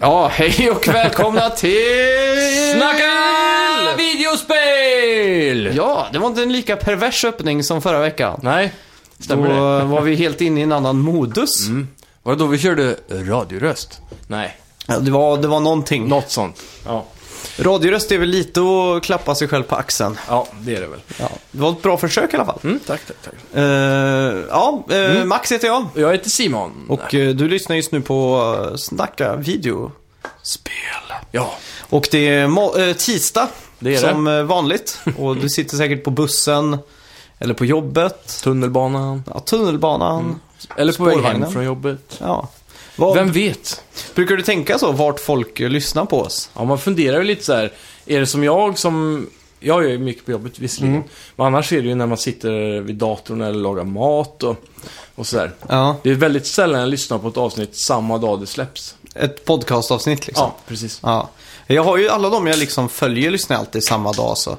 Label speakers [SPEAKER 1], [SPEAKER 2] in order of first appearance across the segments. [SPEAKER 1] Ja, hej och välkomna till...
[SPEAKER 2] Snacka Eh, videospel!
[SPEAKER 1] Ja, det var inte en lika pervers öppning som förra veckan.
[SPEAKER 2] Nej,
[SPEAKER 1] Då
[SPEAKER 2] stämmer det?
[SPEAKER 1] var vi helt inne i en annan modus.
[SPEAKER 2] Var det då vi körde radioröst? Nej,
[SPEAKER 1] Ja, det, var, det var någonting.
[SPEAKER 2] något sånt. Ja.
[SPEAKER 1] Radioröst är väl lite att klappa sig själv på axeln.
[SPEAKER 2] ja, det är det väl.
[SPEAKER 1] Ja. Det var ett bra försök i alla fall.
[SPEAKER 2] Mm, tack, tack, tack.
[SPEAKER 1] Eh, ja, eh, Max heter jag.
[SPEAKER 2] Jag heter Simon.
[SPEAKER 1] Och eh, du lyssnar just nu på eh, Snacka video.
[SPEAKER 2] spel. Ja,
[SPEAKER 1] Och det är må- eh, tisdag
[SPEAKER 2] Det är det.
[SPEAKER 1] som eh, vanligt. Och du sitter säkert på bussen eller på jobbet,
[SPEAKER 2] tunnelbanan.
[SPEAKER 1] ja, tunnelbanan.
[SPEAKER 2] Eller på väg hem
[SPEAKER 1] Spårvagnen.
[SPEAKER 2] från jobbet.
[SPEAKER 1] Ja. Vad,
[SPEAKER 2] Vem vet?
[SPEAKER 1] Brukar du tänka så, vart folk eh, lyssnar på oss?
[SPEAKER 2] Ja, man funderar ju lite så här. Är det som jag som... Jag gör ju mycket på jobbet visserligen. Men annars är det ju när man sitter vid datorn eller lagar mat och, och sådär.
[SPEAKER 1] Ja.
[SPEAKER 2] Det är väldigt sällan jag lyssnar på ett avsnitt samma dag det släpps.
[SPEAKER 1] Ett podcastavsnitt liksom.
[SPEAKER 2] Ja, precis.
[SPEAKER 1] Ja. Jag har ju alla de jag liksom följer lyssnar jag alltid samma dag så.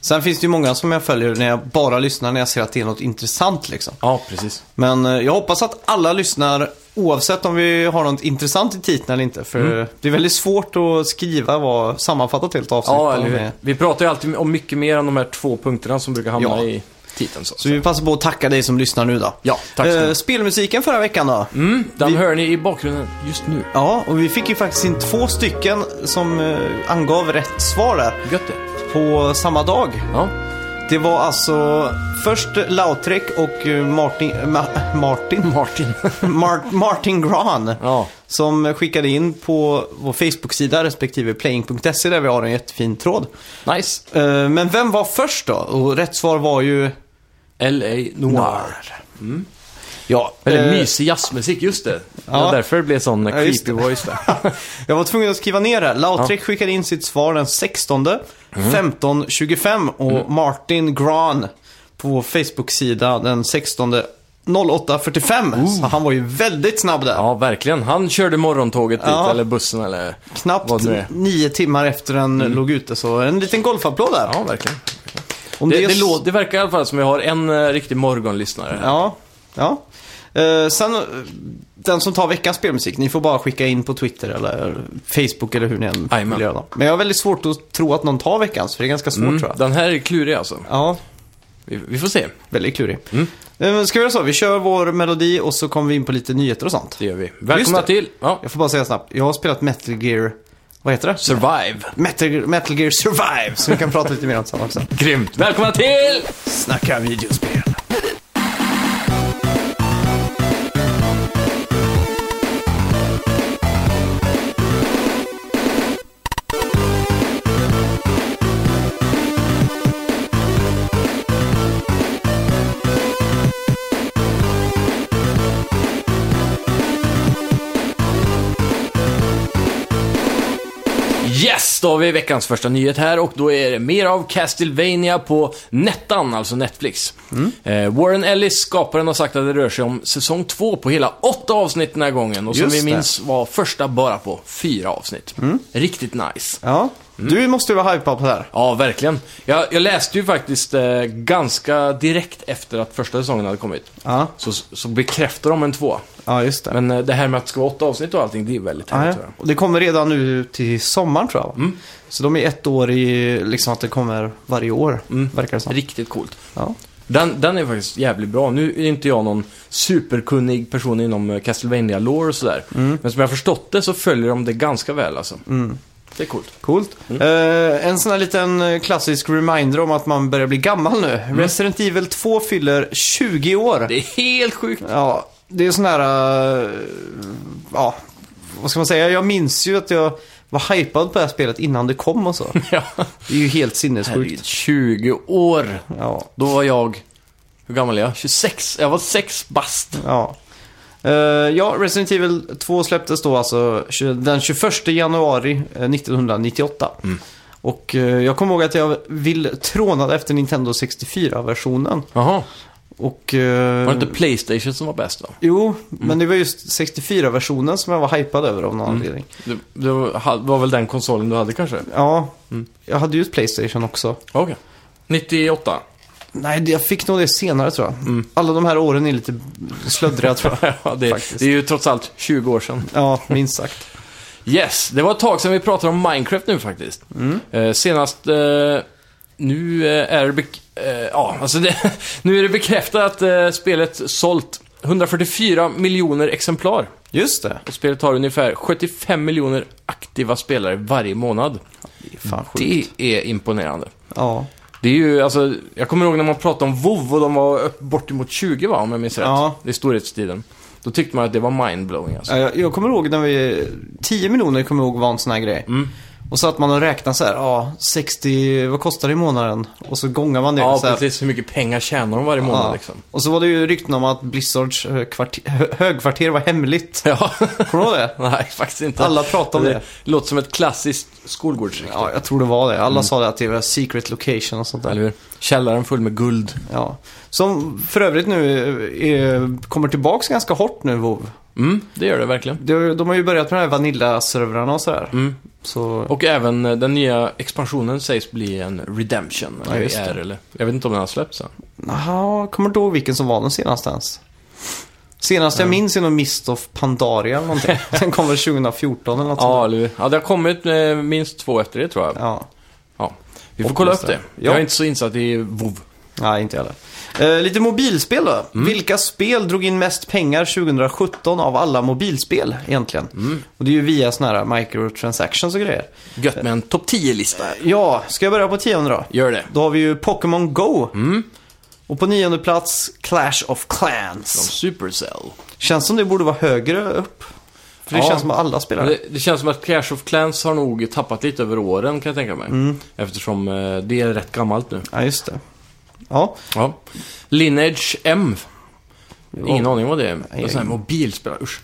[SPEAKER 1] Sen finns det ju många som jag följer när jag bara lyssnar när jag ser att det är något intressant liksom.
[SPEAKER 2] Ja, precis.
[SPEAKER 1] Men eh, jag hoppas att alla lyssnar oavsett om vi har något intressant i titeln eller inte. För eh, det är väldigt svårt att skriva vad sammanfattat helt avsnitt.
[SPEAKER 2] Ja, eller
[SPEAKER 1] med.
[SPEAKER 2] hur? Vi pratar ju alltid om mycket mer än de här två punkterna som brukar hamna
[SPEAKER 1] Ja.
[SPEAKER 2] i titeln. Så.
[SPEAKER 1] Så vi passar på att tacka dig som lyssnar nu då.
[SPEAKER 2] Ja, tack ska ni
[SPEAKER 1] eh,
[SPEAKER 2] ha.
[SPEAKER 1] Spelmusiken förra veckan då?
[SPEAKER 2] Mm, den
[SPEAKER 1] vi-
[SPEAKER 2] hör ni i bakgrunden just nu.
[SPEAKER 1] Ja, och vi fick ju faktiskt in två stycken som eh, angav rätt svar där
[SPEAKER 2] Gött det.
[SPEAKER 1] på samma dag.
[SPEAKER 2] Ja.
[SPEAKER 1] Det var alltså först Lautrec och eh, Martin... Ma- Martin?
[SPEAKER 2] Martin.
[SPEAKER 1] Mar- Martin Gran.
[SPEAKER 2] ja.
[SPEAKER 1] Som skickade in på vår Facebook-sida respektive playing.se där vi har en jättefin tråd.
[SPEAKER 2] Nice.
[SPEAKER 1] Eh, Men vem var först då? Och rätt svar var ju...
[SPEAKER 2] L.A. Noir.
[SPEAKER 1] Ja,
[SPEAKER 2] Eller
[SPEAKER 1] eh,
[SPEAKER 2] mysig jazzmusik, just det. Det var
[SPEAKER 1] ja.
[SPEAKER 2] därför det blev sån eh,
[SPEAKER 1] Ja, just
[SPEAKER 2] creepy voice där.
[SPEAKER 1] Jag var tvungen att skriva ner det. här. Lautrec skickade in sitt svar den 16,
[SPEAKER 2] Mm.
[SPEAKER 1] 15, 25 och Martin Gran på vår Facebook-sida den 16, 08, 45. Så han var ju väldigt snabb där.
[SPEAKER 2] Ja, verkligen. Han körde morgontåget dit,
[SPEAKER 1] Ja.
[SPEAKER 2] eller bussen, eller...
[SPEAKER 1] Knappt
[SPEAKER 2] Vad det nu är. Mm.
[SPEAKER 1] nio timmar efter den låg ute, så en liten golfapplåd där.
[SPEAKER 2] Ja, verkligen.
[SPEAKER 1] Om
[SPEAKER 2] Det,
[SPEAKER 1] är
[SPEAKER 2] det,
[SPEAKER 1] s-
[SPEAKER 2] lå- det verkar i alla fall som vi har en eh, riktig morgonlyssnare. här.
[SPEAKER 1] Ja, ja. Eh, sen, eh, den som tar veckans spelmusik, ni får bara skicka in på Twitter eller Facebook eller hur ni än vill
[SPEAKER 2] Jajamän.
[SPEAKER 1] göra. dem. Men jag har väldigt svårt att tro att någon tar veckans, för det är ganska svårt tror jag.
[SPEAKER 2] Mm. Den här är klurig alltså.
[SPEAKER 1] Ja,
[SPEAKER 2] Vi, vi får se.
[SPEAKER 1] väldigt klurig.
[SPEAKER 2] Mm.
[SPEAKER 1] Eh, Ska vi göra så? Vi kör vår melodi och så kommer vi in på lite nyheter och sånt.
[SPEAKER 2] Det gör vi. Välkomna
[SPEAKER 1] det.
[SPEAKER 2] till ja.
[SPEAKER 1] Jag får bara säga snabbt, jag har spelat Metal Gear, vad heter det?
[SPEAKER 2] Survive.
[SPEAKER 1] Metal, Metal Gear Survive, så vi kan prata lite mer om det sen också.
[SPEAKER 2] Grymt. Välkomna till...
[SPEAKER 1] Snacka videospel.
[SPEAKER 2] Yes, då har vi veckans första nyhet här och då är det mer av Castlevania på Nettan, alltså Netflix.
[SPEAKER 1] Mm.
[SPEAKER 2] Eh, Warren Ellis, skaparen, har sagt att det rör sig om säsong två på hela åtta avsnitt den här gången. Och som
[SPEAKER 1] Just
[SPEAKER 2] vi
[SPEAKER 1] det. Mm.
[SPEAKER 2] minns var första bara på fyra avsnitt. Riktigt nice.
[SPEAKER 1] Ja,
[SPEAKER 2] Mm.
[SPEAKER 1] du måste ju vara hypad på det här.
[SPEAKER 2] Ja, verkligen. Jag, jag läste ju faktiskt eh, ganska direkt efter att första säsongen hade kommit.
[SPEAKER 1] Ja,
[SPEAKER 2] Så, så bekräftar de en tvåa.
[SPEAKER 1] ja just det.
[SPEAKER 2] Men eh, det här med att det ska vara åtta avsnitt och allting, det är väldigt
[SPEAKER 1] Ja, ja.
[SPEAKER 2] härligt. tror jag. Mm.
[SPEAKER 1] Och det kommer redan nu till sommaren tror jag. va? Så de är ett år i, liksom att det kommer varje år,
[SPEAKER 2] Mm.
[SPEAKER 1] verkar det som.
[SPEAKER 2] Riktigt coolt.
[SPEAKER 1] Ja.
[SPEAKER 2] Den, den är faktiskt jävligt bra. Nu är inte jag någon superkunnig person inom eh, castlevania lore och sådär.
[SPEAKER 1] Mm.
[SPEAKER 2] Men som jag har förstått det så följer de det ganska väl alltså. Det är coolt.
[SPEAKER 1] Coolt.
[SPEAKER 2] Mm.
[SPEAKER 1] Eh, en sån här liten eh, klassisk reminder om att man börjar bli gammal nu. Resident Evil 2 fyller 20 år.
[SPEAKER 2] Mm. Det är helt sjukt.
[SPEAKER 1] Ja, det är sån här... eh, ja, vad ska man säga? Jag minns ju att jag var hypad på det här spelet innan det kom och så.
[SPEAKER 2] Ja.
[SPEAKER 1] Det är ju helt
[SPEAKER 2] Herregud,
[SPEAKER 1] sinnessjukt.
[SPEAKER 2] 20 år.
[SPEAKER 1] Ja.
[SPEAKER 2] Då var jag, hur gammal är jag? 26. Jag var 6 bast.
[SPEAKER 1] Ja. Eh, ja, Resident Evil 2 släpptes då alltså tju- den 21 januari eh, 1998.
[SPEAKER 2] Mm.
[SPEAKER 1] Och eh, jag kommer ihåg att jag vill trånade efter Nintendo 64-versionen.
[SPEAKER 2] Jaha.
[SPEAKER 1] Och... eh,
[SPEAKER 2] Var det inte Playstation som var bäst då?
[SPEAKER 1] Jo, men det var just 64-versionen som jag var hypad över av någon anledning.
[SPEAKER 2] Det, det var, ha- var väl den konsolen du hade kanske?
[SPEAKER 1] Ja, jag hade ju ett Playstation också.
[SPEAKER 2] Okej. 98.
[SPEAKER 1] Nej, det- jag fick nog det senare tror jag. Alla de här åren är lite slöddriga tror jag.
[SPEAKER 2] ja, det,
[SPEAKER 1] Faktiskt.
[SPEAKER 2] det är ju trots allt 20 år sedan.
[SPEAKER 1] Ja, minst sagt.
[SPEAKER 2] Yes, det var ett tag sedan vi pratade om Minecraft nu faktiskt. Eh, senast... Eh, nu eh, är det... Bek- eh, ja, alltså det, nu är det bekräftat att eh, spelet sålt 144 miljoner exemplar.
[SPEAKER 1] Just det.
[SPEAKER 2] Och spelet har ungefär 75 miljoner aktiva spelare varje månad.
[SPEAKER 1] Det är fan sjukt.
[SPEAKER 2] Det är imponerande.
[SPEAKER 1] Ja.
[SPEAKER 2] Det är ju, alltså, jag kommer ihåg när man pratade om WoW och de var upp- bortemot 20 va, om jag minns rätt.
[SPEAKER 1] Ja.
[SPEAKER 2] I storhetstiden. Då tyckte man att det var mindblowing alltså.
[SPEAKER 1] Ja, Jag, jag kommer ihåg när vi, 10 miljoner kommer jag ihåg var en sån här grej. Och så att man och räknade så här, ja, 60, vad kostar det i månaden? Och så gångar man det.
[SPEAKER 2] Ja,
[SPEAKER 1] så här,
[SPEAKER 2] precis. Hur mycket pengar tjänar de varje månad
[SPEAKER 1] Ja.
[SPEAKER 2] liksom?
[SPEAKER 1] Och så var det ju rykten om att Blizzards eh, kvarter, hö- högkvarter var hemligt.
[SPEAKER 2] Ja,
[SPEAKER 1] Kommer du ihåg det?
[SPEAKER 2] nej faktiskt inte.
[SPEAKER 1] Alla pratade om det.
[SPEAKER 2] låter som ett klassiskt skolgårdsrykte.
[SPEAKER 1] Ja, jag tror det var det. Alla sa det att det var secret location och sånt där.
[SPEAKER 2] Mm. Eller hur? Källaren full med guld.
[SPEAKER 1] Ja. Som för övrigt nu eh, kommer tillbaks ganska hårt nu, WoW.
[SPEAKER 2] Mm, det gör det verkligen.
[SPEAKER 1] De, de har ju börjat med de här Vanilla-servrarna och sådär.
[SPEAKER 2] Mm.
[SPEAKER 1] Så,
[SPEAKER 2] Och även eh, den nya expansionen sägs bli en redemption.
[SPEAKER 1] Ja,
[SPEAKER 2] Eller
[SPEAKER 1] just det.
[SPEAKER 2] är, eller. Jag vet inte om den har släppts än.
[SPEAKER 1] aha, kommer du ihåg vilken som var den senaste ens? Senast jag minns är nog Mist of Pandaria eller någonting. Den kom väl 2014 eller något
[SPEAKER 2] Ja,
[SPEAKER 1] sånt
[SPEAKER 2] eller hur? Ja, det har kommit eh, minst två efter det tror jag.
[SPEAKER 1] där. Ja.
[SPEAKER 2] Ja. Vi får kolla
[SPEAKER 1] Hoppas
[SPEAKER 2] upp
[SPEAKER 1] det.
[SPEAKER 2] det.
[SPEAKER 1] Ja.
[SPEAKER 2] Jag är inte så insatt i WoW.
[SPEAKER 1] Nej, inte heller. Eh, lite mobilspel då. Vilka spel drog in mest pengar 2017 av alla mobilspel egentligen? Och det är ju via sådana här microtransactions och grejer.
[SPEAKER 2] Gött med en topp 10-lista.
[SPEAKER 1] Ja, ska jag börja på tionde då?
[SPEAKER 2] Gör det.
[SPEAKER 1] Då har vi ju Pokémon Go. Och på nionde plats Clash of Clans.
[SPEAKER 2] Supercell.
[SPEAKER 1] Känns som det borde vara högre upp. För det
[SPEAKER 2] Ja.
[SPEAKER 1] känns som att alla spelar.
[SPEAKER 2] Det, det känns som att Clash of Clans har nog tappat lite över åren kan jag tänka mig.
[SPEAKER 1] Mm.
[SPEAKER 2] Eftersom eh, det är rätt gammalt nu.
[SPEAKER 1] Ja, just det. Ja,
[SPEAKER 2] Ja. Lineage M. Ingen aning vad det är. Det är
[SPEAKER 1] Nej.
[SPEAKER 2] sån här mobilspel. Usch.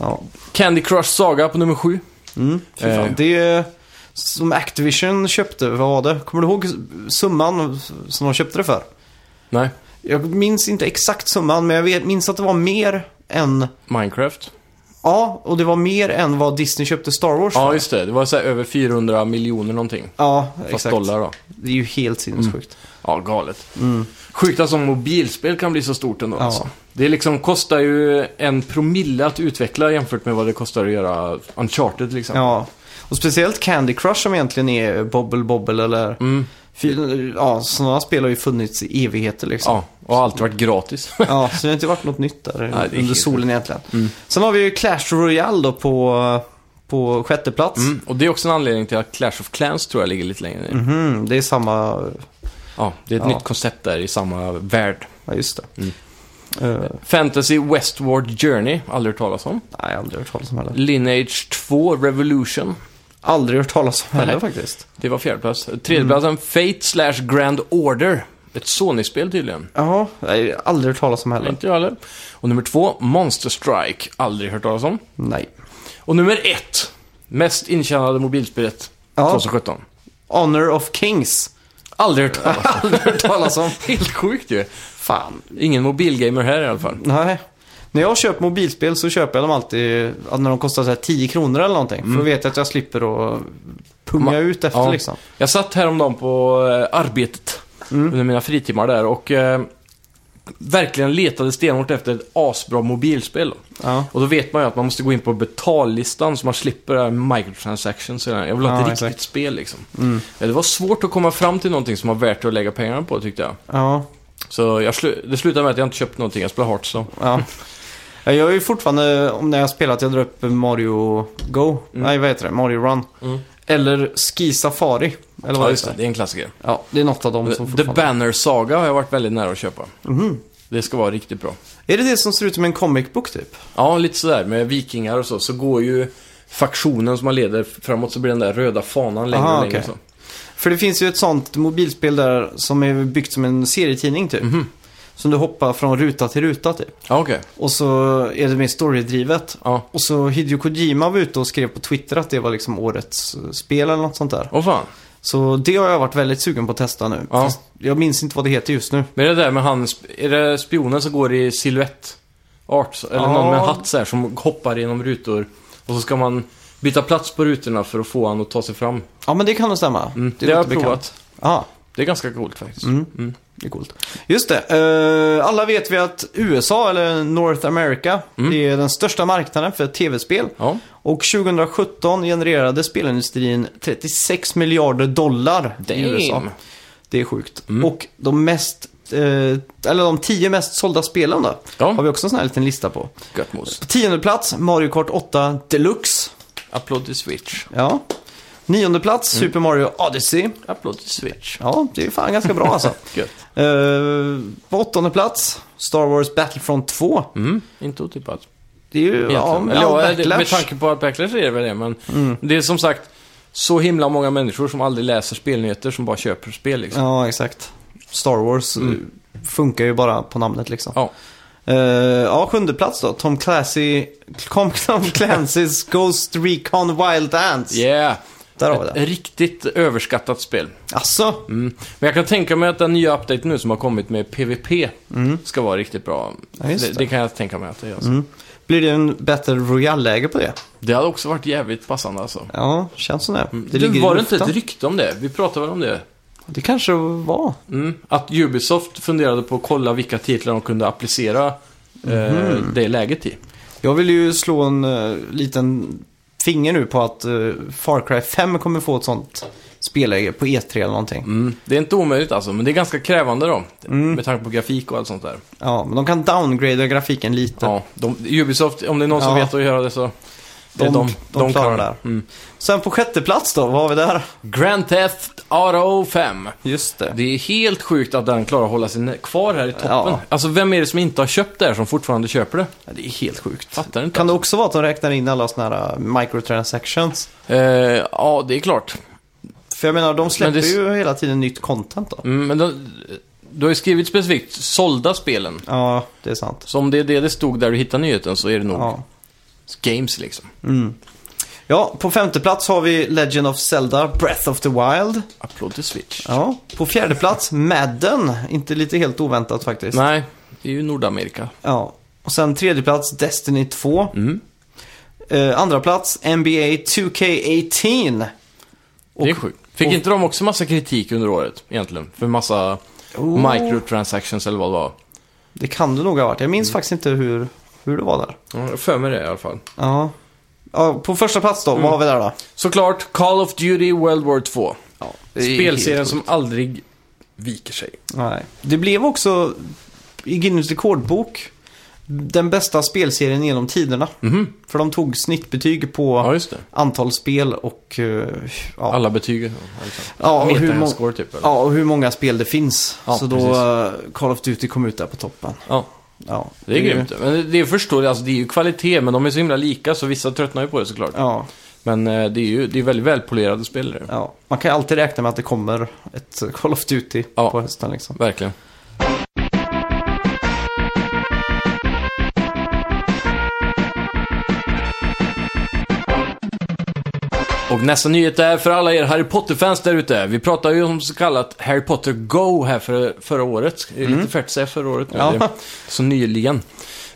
[SPEAKER 1] ja.
[SPEAKER 2] Candy Crush Saga på nummer sju.
[SPEAKER 1] Mm, Fy fan.
[SPEAKER 2] Eh.
[SPEAKER 1] Det är som Activision köpte, vad var det? Kommer du ihåg summan som de köpte det för?
[SPEAKER 2] Nej.
[SPEAKER 1] Jag minns inte exakt summan, men jag vet, minns att det var mer än...
[SPEAKER 2] Minecraft.
[SPEAKER 1] Ja, och det var mer än vad Disney köpte Star Wars
[SPEAKER 2] Ja,
[SPEAKER 1] för.
[SPEAKER 2] just det. Det var så här över 400 miljoner någonting.
[SPEAKER 1] Ja,
[SPEAKER 2] Fast
[SPEAKER 1] exakt.
[SPEAKER 2] dollar Mm. då.
[SPEAKER 1] Det är ju helt sinnessjukt.
[SPEAKER 2] Ja, galet. Sjukt att som mobilspel kan bli så stort ändå.
[SPEAKER 1] Mm. Ja.
[SPEAKER 2] Alltså. Det liksom kostar ju en promille att utveckla jämfört med vad det kostar att göra Uncharted liksom. till exempel.
[SPEAKER 1] Ja. Och speciellt Candy Crush som egentligen är Bobble Bobble eller...
[SPEAKER 2] Mm.
[SPEAKER 1] Fy- Ja, sådana spel har ju funnits i evigheter liksom.
[SPEAKER 2] Ja, och alltid varit gratis.
[SPEAKER 1] Ja. så det har inte varit något nytt där
[SPEAKER 2] det är
[SPEAKER 1] under
[SPEAKER 2] helt Mm.
[SPEAKER 1] solen egentligen. Sen har vi ju Clash Royale då på, på sjätte plats.
[SPEAKER 2] Mm. Och det är också en anledning till att Clash of Clans tror jag ligger lite längre ner.
[SPEAKER 1] Mhm, det är samma...
[SPEAKER 2] Ja, det är ett
[SPEAKER 1] Ja.
[SPEAKER 2] nytt koncept där i samma värld.
[SPEAKER 1] Ja, just det.
[SPEAKER 2] Mm.
[SPEAKER 1] Eh,
[SPEAKER 2] Fantasy Westward Journey, aldrig hört talas om.
[SPEAKER 1] nej, aldrig hört talas om heller.
[SPEAKER 2] Lineage 2 Revolution.
[SPEAKER 1] Aldrig hört talas om heller
[SPEAKER 2] Nej.
[SPEAKER 1] faktiskt.
[SPEAKER 2] Det var fjärdeplats.
[SPEAKER 1] Mm.
[SPEAKER 2] Tredjeplatsen Fate slash Grand Order. Ett Sony-spel tydligen.
[SPEAKER 1] Jaha, nej, aldrig hört talas om
[SPEAKER 2] Eller
[SPEAKER 1] heller.
[SPEAKER 2] inte jag heller. Och nummer två, Monster Strike. Aldrig hört talas om.
[SPEAKER 1] Nej.
[SPEAKER 2] Och nummer ett, mest intjänade mobilspelet
[SPEAKER 1] Ja.
[SPEAKER 2] 2017.
[SPEAKER 1] Honor of Kings.
[SPEAKER 2] Aldrig hört talas om.
[SPEAKER 1] Aldrig hört talas om.
[SPEAKER 2] Helt sjukt ju.
[SPEAKER 1] Fan.
[SPEAKER 2] Ingen mobilgamer här i alla fall.
[SPEAKER 1] Nej. När jag köper mobilspel så köper jag dem alltid ja, när de kostar så här 10 kronor eller någonting. För då vet jag att jag slipper att punga
[SPEAKER 2] Mm. Ma-
[SPEAKER 1] ut efter
[SPEAKER 2] Ja.
[SPEAKER 1] liksom. Mm.
[SPEAKER 2] Jag satt häromdagen på eh, arbetet under mina fritimmar där och eh, verkligen letade stenhårt efter ett asbra mobilspel. Då.
[SPEAKER 1] Ja.
[SPEAKER 2] Och då vet man ju att man måste gå in på betallistan så man slipper det här microtransactions. och det här. Jag vill ha ett
[SPEAKER 1] Ja,
[SPEAKER 2] riktigt
[SPEAKER 1] exakt. Mm.
[SPEAKER 2] spel liksom. Ja, Det var svårt att komma fram till någonting som var värt att lägga pengarna på tyckte jag.
[SPEAKER 1] Ja.
[SPEAKER 2] Så jag slu- det slutade med att jag inte köpte någonting, jag spelade Hearthstone.
[SPEAKER 1] ja. Ja, Jag är ju fortfarande, om när jag spelat, jag drar upp Mario Go.
[SPEAKER 2] Mm.
[SPEAKER 1] Nej, vad heter det? Mario Run. Eller Ski Safari. Eller vad
[SPEAKER 2] Ja, just
[SPEAKER 1] heter
[SPEAKER 2] det.
[SPEAKER 1] det?
[SPEAKER 2] Det är en klassiker.
[SPEAKER 1] Ja, det är något av dem som Mhm.
[SPEAKER 2] The Banner Saga har jag varit väldigt nära att köpa. Det ska vara riktigt bra.
[SPEAKER 1] Är det det som ser ut som en comic book typ?
[SPEAKER 2] Ja, lite sådär med vikingar och så. Så går ju faktionen som man leder framåt så blir den där röda fanan längre
[SPEAKER 1] Aha,
[SPEAKER 2] och längre.
[SPEAKER 1] okej.
[SPEAKER 2] Så.
[SPEAKER 1] För det finns ju ett sånt mobilspel där som är byggt som en serietidning typ.
[SPEAKER 2] Mhm.
[SPEAKER 1] Som du hoppar från ruta till ruta typ.
[SPEAKER 2] Ja, okej.
[SPEAKER 1] Och så är det mer storydrivet.
[SPEAKER 2] Ja.
[SPEAKER 1] Och så Hideo Kojima var ute och skrev på Twitter att det var liksom årets eh, spel eller något sånt där.
[SPEAKER 2] Åh fan.
[SPEAKER 1] Så det har jag varit väldigt sugen på att testa nu.
[SPEAKER 2] Ja.
[SPEAKER 1] Fast jag minns inte vad det heter just nu.
[SPEAKER 2] Men det där med han, sp- är det spionen som går i silhuett? Art, eller
[SPEAKER 1] Ja.
[SPEAKER 2] någon med en hatt så här som hoppar genom rutor. Och så ska man byta plats på rutorna för att få han att ta sig fram.
[SPEAKER 1] Ja men det kan nog stämma.
[SPEAKER 2] Mm, det har jag
[SPEAKER 1] låter bekant.
[SPEAKER 2] provat. Mm.
[SPEAKER 1] Ja,
[SPEAKER 2] Det är ganska coolt faktiskt.
[SPEAKER 1] det är coolt. Just det. eh, alla vet
[SPEAKER 2] Mm.
[SPEAKER 1] vi att USA, eller North America, är den största marknaden för tv-spel.
[SPEAKER 2] Ja.
[SPEAKER 1] Och 2017 genererade spelindustrin 36 miljarder dollar i
[SPEAKER 2] Damn. Mm.
[SPEAKER 1] USA. Det är sjukt. Och de mest, eh, eller de tio mest sålda spelen då,
[SPEAKER 2] Ja.
[SPEAKER 1] har vi också en sån här liten lista på.
[SPEAKER 2] Gött mos.
[SPEAKER 1] På tionde plats, Mario Kart 8 Deluxe.
[SPEAKER 2] Applåd till Switch.
[SPEAKER 1] Ja. Nionde plats,
[SPEAKER 2] Mm.
[SPEAKER 1] Super Mario Odyssey.
[SPEAKER 2] Applåd till Switch.
[SPEAKER 1] Ja, det är fan ganska bra alltså.
[SPEAKER 2] Gött.
[SPEAKER 1] Eh, på åttonde plats, Star Wars Battlefront 2.
[SPEAKER 2] Mm. Inte otippat.
[SPEAKER 1] Det är ju, ja,
[SPEAKER 2] Egentligen.
[SPEAKER 1] ja,
[SPEAKER 2] Eller, ja, det-
[SPEAKER 1] Backlash. Mm.
[SPEAKER 2] med tanke på att Backlash är det väl det, men det är som sagt så himla många människor som aldrig läser spelnyheter som bara köper spel liksom.
[SPEAKER 1] Ja, exakt. Star Wars eh, funkar ju bara på namnet liksom.
[SPEAKER 2] Mm. Ja.
[SPEAKER 1] Eh, ja, sjunde plats då. Tom Clancy, Tom Clancy's Ghost Recon Wild Ants.
[SPEAKER 2] Yeah!
[SPEAKER 1] Där har vi
[SPEAKER 2] Ett
[SPEAKER 1] det.
[SPEAKER 2] riktigt överskattat spel.
[SPEAKER 1] Alltså,
[SPEAKER 2] Mm. Men jag kan tänka mig att den nya updaten nu som har kommit med PVP ska vara riktigt bra.
[SPEAKER 1] Mm. Ja, just
[SPEAKER 2] det.
[SPEAKER 1] det. Mm.
[SPEAKER 2] det kan jag tänka mig att det är. Alltså.
[SPEAKER 1] blir det en Battle Royale-läge på det?
[SPEAKER 2] Det hade också varit jävligt passande alltså.
[SPEAKER 1] Ja, känns som det. Det
[SPEAKER 2] Mm. du,
[SPEAKER 1] ligger
[SPEAKER 2] var
[SPEAKER 1] i
[SPEAKER 2] det inte ett
[SPEAKER 1] luften.
[SPEAKER 2] rykte om det? Vi pratade väl om det?
[SPEAKER 1] Det kanske var.
[SPEAKER 2] Mm. Att Ubisoft funderade på att kolla vilka titlar de kunde applicera eh,
[SPEAKER 1] Mhm.
[SPEAKER 2] det läget i.
[SPEAKER 1] Jag vill ju slå en eh, liten finger nu på att eh, Far Cry 5 kommer få ett sånt spelläge på E3 eller någonting.
[SPEAKER 2] Mm. Det är inte omöjligt alltså, men det är ganska krävande då.
[SPEAKER 1] Mm.
[SPEAKER 2] Med tanke på grafik och allt sånt där.
[SPEAKER 1] Ja, men de kan downgrada grafiken lite.
[SPEAKER 2] Ja, de, Ubisoft, om det är någon som
[SPEAKER 1] Ja.
[SPEAKER 2] vet att göra det så... Det är
[SPEAKER 1] De-
[SPEAKER 2] de,
[SPEAKER 1] de klarar det.
[SPEAKER 2] Mm.
[SPEAKER 1] Sen på sjätte plats då, vad har vi där?
[SPEAKER 2] Grand Theft Auto 5.
[SPEAKER 1] Just det.
[SPEAKER 2] Det är helt sjukt att den klarar att hålla sig kvar här i toppen.
[SPEAKER 1] Ja.
[SPEAKER 2] Alltså, vem är det som inte har köpt det här som fortfarande köper det?
[SPEAKER 1] Ja, det är helt sjukt.
[SPEAKER 2] Fattar inte.
[SPEAKER 1] Kan det också vara att de räknar in alla sådana här äh, microtransactions?
[SPEAKER 2] Eh, ja, det är klart.
[SPEAKER 1] För jag menar, de släpper
[SPEAKER 2] det-
[SPEAKER 1] ju hela tiden nytt content då.
[SPEAKER 2] Mm, men då, du har ju skrivit specifikt sålda spelen.
[SPEAKER 1] Ja, det är sant.
[SPEAKER 2] Så om det är det det stod där du hittar nyheten så är det nog
[SPEAKER 1] Ja.
[SPEAKER 2] games liksom.
[SPEAKER 1] ja, på femte plats har vi Legend of Zelda, Breath of the Wild.
[SPEAKER 2] Applåd till Switch.
[SPEAKER 1] Ja, på fjärde plats Madden. Inte lite helt oväntat faktiskt.
[SPEAKER 2] Nej, det är ju Nordamerika.
[SPEAKER 1] Ja. Och sen tredje plats Destiny 2.
[SPEAKER 2] Mm.
[SPEAKER 1] Eh, andra plats NBA 2K18.
[SPEAKER 2] Det är sjukt. Fick
[SPEAKER 1] och-
[SPEAKER 2] inte de också massa kritik under året egentligen? För massa
[SPEAKER 1] Oh.
[SPEAKER 2] microtransactions eller vad det var?
[SPEAKER 1] Det kan det nog ha varit. Jag
[SPEAKER 2] Mm.
[SPEAKER 1] minns faktiskt inte hur, hur det var där.
[SPEAKER 2] Ja, jag har för mig det i alla fall.
[SPEAKER 1] Ja. ja på första plats då,
[SPEAKER 2] Mm.
[SPEAKER 1] vad har vi där då?
[SPEAKER 2] Såklart Call of Duty World War 2.
[SPEAKER 1] Ja,
[SPEAKER 2] Spelserien som aldrig viker sig.
[SPEAKER 1] Nej. Det blev också i Guinness rekordbok den bästa spelserien genom tiderna. För de tog snittbetyg på
[SPEAKER 2] Mhm. Ja, just det.
[SPEAKER 1] antal spel och, eh, ja.
[SPEAKER 2] Alla betyg.
[SPEAKER 1] Ja, och hur, må-
[SPEAKER 2] Metascore typ. Eller?
[SPEAKER 1] ja, och hur många spel det finns.
[SPEAKER 2] Ja,
[SPEAKER 1] så då
[SPEAKER 2] precis.
[SPEAKER 1] eh, Call of Duty kom ut där på toppen.
[SPEAKER 2] Ja.
[SPEAKER 1] Ja,
[SPEAKER 2] Det är
[SPEAKER 1] ju-
[SPEAKER 2] grymt. Men det- det är förståeligt, alltså det är ju kvalitet, men de är så himla lika så vissa tröttnar ju på det såklart.
[SPEAKER 1] Ja,
[SPEAKER 2] Men eh, det är ju det är väldigt välpolerade spelare.
[SPEAKER 1] ja, man kan ju alltid räkna med att det kommer ett eh, Call of Duty
[SPEAKER 2] Ja.
[SPEAKER 1] på hösten liksom.
[SPEAKER 2] Verkligen. Och nästa nyhet är för alla er Harry Potter-fans där ute. Vi pratade ju om så kallat Harry Potter Go här för, förra året. Det är lite färdigt att säga förra året nu.
[SPEAKER 1] Ja.
[SPEAKER 2] Det är Så nyligen.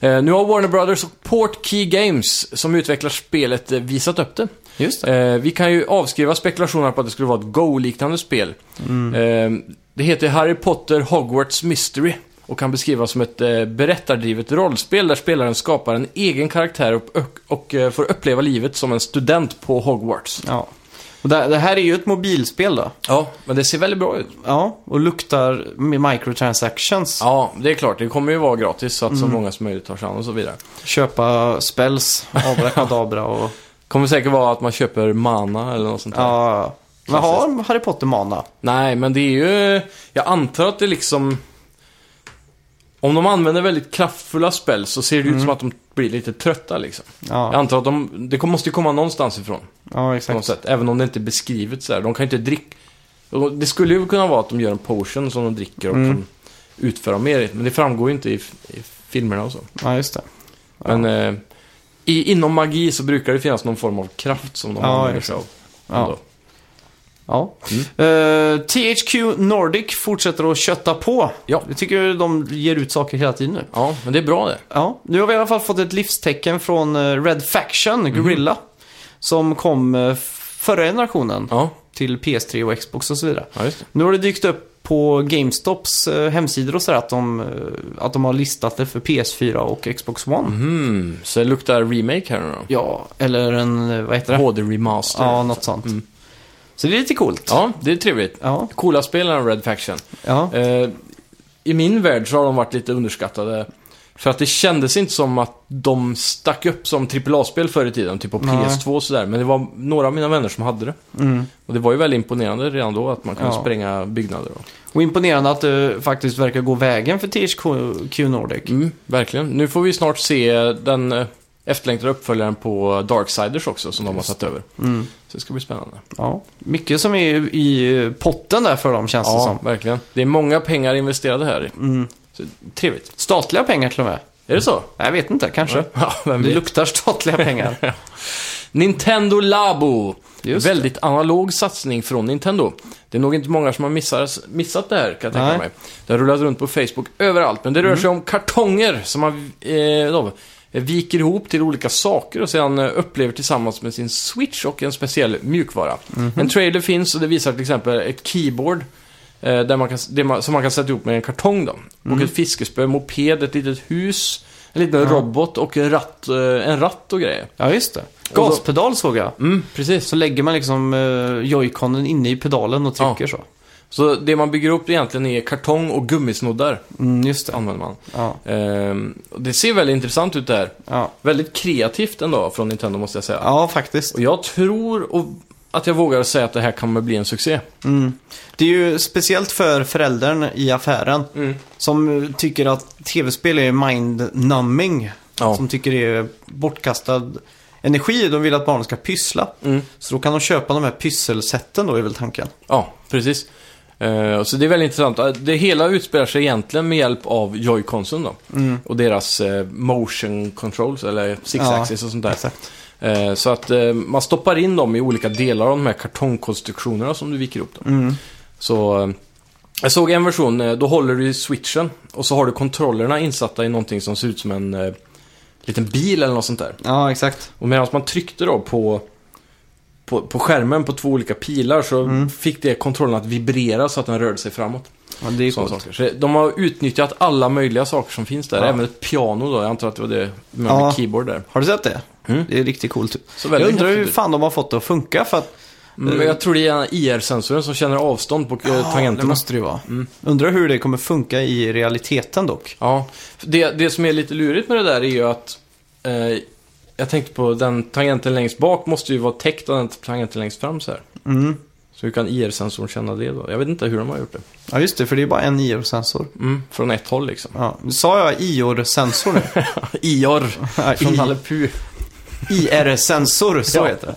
[SPEAKER 2] Eh, nu har Warner Brothers och Port Key Games, som utvecklar spelet, eh, visat upp det.
[SPEAKER 1] Just
[SPEAKER 2] Eh, vi kan ju avskriva spekulationer på att det skulle vara ett Go-liknande spel. Eh, det heter Harry Potter Hogwarts Mystery och kan beskrivas som ett eh, berättardrivet rollspel där spelaren skapar en egen karaktär och, och, och eh, får uppleva livet som en student på Hogwarts.
[SPEAKER 1] Ja. Och det, det här är ju ett mobilspel då.
[SPEAKER 2] Ja, men det ser väldigt bra ut.
[SPEAKER 1] Ja, och luktar med microtransactions.
[SPEAKER 2] Ja, det är klart. Det kommer ju vara gratis så att så många som möjligt tar sig an och så vidare.
[SPEAKER 1] Köpa spells, abrakadabra och...
[SPEAKER 2] Kommer säkert vara att man köper mana eller något sånt där.
[SPEAKER 1] Ja. Men har Harry Potter mana?
[SPEAKER 2] Nej, men det är ju... Jag antar att det liksom... Om de använder väldigt kraftfulla spel så ser det ut som att de blir lite trötta liksom. Jag
[SPEAKER 1] Ja,
[SPEAKER 2] antar att de... Det kom- måste ju komma någonstans ifrån.
[SPEAKER 1] ja
[SPEAKER 2] På något
[SPEAKER 1] exakt.
[SPEAKER 2] sätt. Även om det inte är beskrivet så här. De kan ju inte dricka... Det skulle ju kunna vara att de gör en potion som de dricker och
[SPEAKER 1] Mm.
[SPEAKER 2] kan utföra mer. Men det framgår ju inte i, i filmerna och så.
[SPEAKER 1] Ja, just det. Ja.
[SPEAKER 2] Men eh, i, inom magi så brukar det finnas någon form av kraft som de
[SPEAKER 1] Ja,
[SPEAKER 2] använder
[SPEAKER 1] exakt.
[SPEAKER 2] sig av.
[SPEAKER 1] Ja.
[SPEAKER 2] Ändå.
[SPEAKER 1] Ja. Eh, THQ Nordic fortsätter att kötta på.
[SPEAKER 2] Ja.
[SPEAKER 1] Jag tycker de ger ut saker hela tiden nu.
[SPEAKER 2] ja, men det är bra det.
[SPEAKER 1] Ja, nu har vi i alla fall fått ett livstecken från eh, Red Faction, Gorilla. Som kom eh, förra generationen
[SPEAKER 2] Ja,
[SPEAKER 1] till PS3 och Xbox och så vidare.
[SPEAKER 2] ja just det.
[SPEAKER 1] Nu har det dykt upp på GameStops eh, hemsidor och sådär att de, eh, att de har listat det för PS4 och Xbox One.
[SPEAKER 2] Mm, så det luktar remake här nu då?
[SPEAKER 1] Ja, eller en, eh, vad heter det?
[SPEAKER 2] HD Remaster.
[SPEAKER 1] Ja, något sånt. Så det är lite coolt.
[SPEAKER 2] Mm. Ja, det är trevligt.
[SPEAKER 1] Ja,
[SPEAKER 2] Coola spel än Red Faction.
[SPEAKER 1] ja.
[SPEAKER 2] Eh, I min värld så har de varit lite underskattade. För att det kändes inte som att de stack upp som AAA-spel förr i tiden, typ på
[SPEAKER 1] Nej.
[SPEAKER 2] PS2 och sådär. Men det var några av mina vänner som hade det.
[SPEAKER 1] Mm.
[SPEAKER 2] Och det var ju väldigt imponerande redan då att man kunde
[SPEAKER 1] Ja.
[SPEAKER 2] spränga byggnader. Och...
[SPEAKER 1] Och imponerande att det faktiskt verkar gå vägen för THQ Nordic.
[SPEAKER 2] Mm, verkligen. Nu får vi snart se den eh, efterlängtade uppföljaren på Darksiders också, som de har satt över.
[SPEAKER 1] Mm.
[SPEAKER 2] Så det ska bli spännande.
[SPEAKER 1] Ja. Mycket som är i potten där för dem känns det
[SPEAKER 2] Ja,
[SPEAKER 1] som.
[SPEAKER 2] verkligen. Det är många pengar investerade här.
[SPEAKER 1] Mm.
[SPEAKER 2] Så, trevligt.
[SPEAKER 1] Statliga pengar till och med.
[SPEAKER 2] Är det så?
[SPEAKER 1] Jag vet inte, kanske.
[SPEAKER 2] Ja, vem
[SPEAKER 1] Det
[SPEAKER 2] vet?
[SPEAKER 1] luktar statliga pengar.
[SPEAKER 2] Nintendo Labo.
[SPEAKER 1] Just det.
[SPEAKER 2] Väldigt analog satsning från Nintendo. Det är nog inte många som har missat, missat det här, kan jag tänka
[SPEAKER 1] Nej. Mm.
[SPEAKER 2] mig. Det har rullat runt på Facebook överallt, men det rör sig om kartonger som man eh, då, viker ihop till olika saker och sedan eh, upplever tillsammans med sin Switch och en speciell mjukvara.
[SPEAKER 1] Mhm.
[SPEAKER 2] En trailer finns och det visar till exempel ett keyboard eh, där man kan, det man, som man kan sätta ihop med en kartong då.
[SPEAKER 1] Mm.
[SPEAKER 2] Och ett fiskespö, moped, ett litet hus, en liten robot och en ratt, eh, en ratt och grejer.
[SPEAKER 1] Ja, just det.
[SPEAKER 2] då-
[SPEAKER 1] Gaspedal såg jag.
[SPEAKER 2] Mm, precis.
[SPEAKER 1] Så lägger man liksom uh, joyconen inne i pedalen och trycker så.
[SPEAKER 2] Så det man bygger upp egentligen är kartong och gummisnoddar.
[SPEAKER 1] Mm, just det.
[SPEAKER 2] Använder man.
[SPEAKER 1] Ja,
[SPEAKER 2] Ehm, och det ser väldigt intressant ut där.
[SPEAKER 1] ja.
[SPEAKER 2] Väldigt kreativt ändå från Nintendo måste jag säga.
[SPEAKER 1] ja faktiskt.
[SPEAKER 2] Och jag tror och, att jag vågar säga att det här kommer bli en succé.
[SPEAKER 1] Mm. Det är ju speciellt för föräldern i affären
[SPEAKER 2] Mm.
[SPEAKER 1] som eh, tycker att tv-spel är mind-numbing.
[SPEAKER 2] Ja.
[SPEAKER 1] Som tycker det är bortkastad energi. De vill att barnen ska pyssla.
[SPEAKER 2] Mm.
[SPEAKER 1] Så då kan de köpa de här pysselseten då är väl tanken.
[SPEAKER 2] Ja, precis. Ehm, så det är väldigt intressant. Eh, Det hela utspelar sig egentligen med hjälp av Joy-Consen då.
[SPEAKER 1] Mm.
[SPEAKER 2] Och deras eh, motion controls, eller six
[SPEAKER 1] Ja,
[SPEAKER 2] axis och sånt där.
[SPEAKER 1] Exakt.
[SPEAKER 2] Eh, Så att eh, man stoppar in dem i olika delar av de här kartongkonstruktionerna som du viker upp. Då.
[SPEAKER 1] Mm.
[SPEAKER 2] Så eh, jag såg en version, eh, då håller du i switchen och så har du kontrollerna insatta i någonting som ser ut som en eh, liten bil eller något sånt där.
[SPEAKER 1] Ja, exakt.
[SPEAKER 2] Och medan man tryckte då på, på, på skärmen på två olika pilar så
[SPEAKER 1] Mm.
[SPEAKER 2] fick det kontrollen att vibrera så att den rörde sig framåt.
[SPEAKER 1] Ja, det är
[SPEAKER 2] Sådana
[SPEAKER 1] coolt.
[SPEAKER 2] saker. Så de har utnyttjat alla möjliga saker som finns där.
[SPEAKER 1] Ja.
[SPEAKER 2] Även ett piano då, jag antar att det var det med
[SPEAKER 1] Ja.
[SPEAKER 2] keyboard där.
[SPEAKER 1] Har du sett det?
[SPEAKER 2] Mm.
[SPEAKER 1] Det är riktigt coolt.
[SPEAKER 2] Så
[SPEAKER 1] Jag
[SPEAKER 2] väldigt
[SPEAKER 1] undrar hur
[SPEAKER 2] häftigt.
[SPEAKER 1] fan de har fått det att funka för att
[SPEAKER 2] Men jag tror det är IR-sensoren som känner avstånd på eh,
[SPEAKER 1] det
[SPEAKER 2] tangenterna.
[SPEAKER 1] måste det ju vara. Mm. Undrar hur det kommer funka i realiteten dock.
[SPEAKER 2] Ja, det, det som är lite lurigt med det där är ju att eh, jag tänkte på den tangenten längst bak måste ju vara täckt av den tangenten längst fram så här.
[SPEAKER 1] Mm.
[SPEAKER 2] Så hur kan IR-sensorn känna det då? Jag vet inte hur de har gjort det.
[SPEAKER 1] Ja, just det, för det är bara en IR-sensor.
[SPEAKER 2] Mm, från ett håll liksom.
[SPEAKER 1] Ja. Sa jag IR-sensor nu?
[SPEAKER 2] IR
[SPEAKER 1] Ja,
[SPEAKER 2] från
[SPEAKER 1] I-
[SPEAKER 2] Nalle Puh.
[SPEAKER 1] IR-sensor, så
[SPEAKER 2] Ja.
[SPEAKER 1] heter det.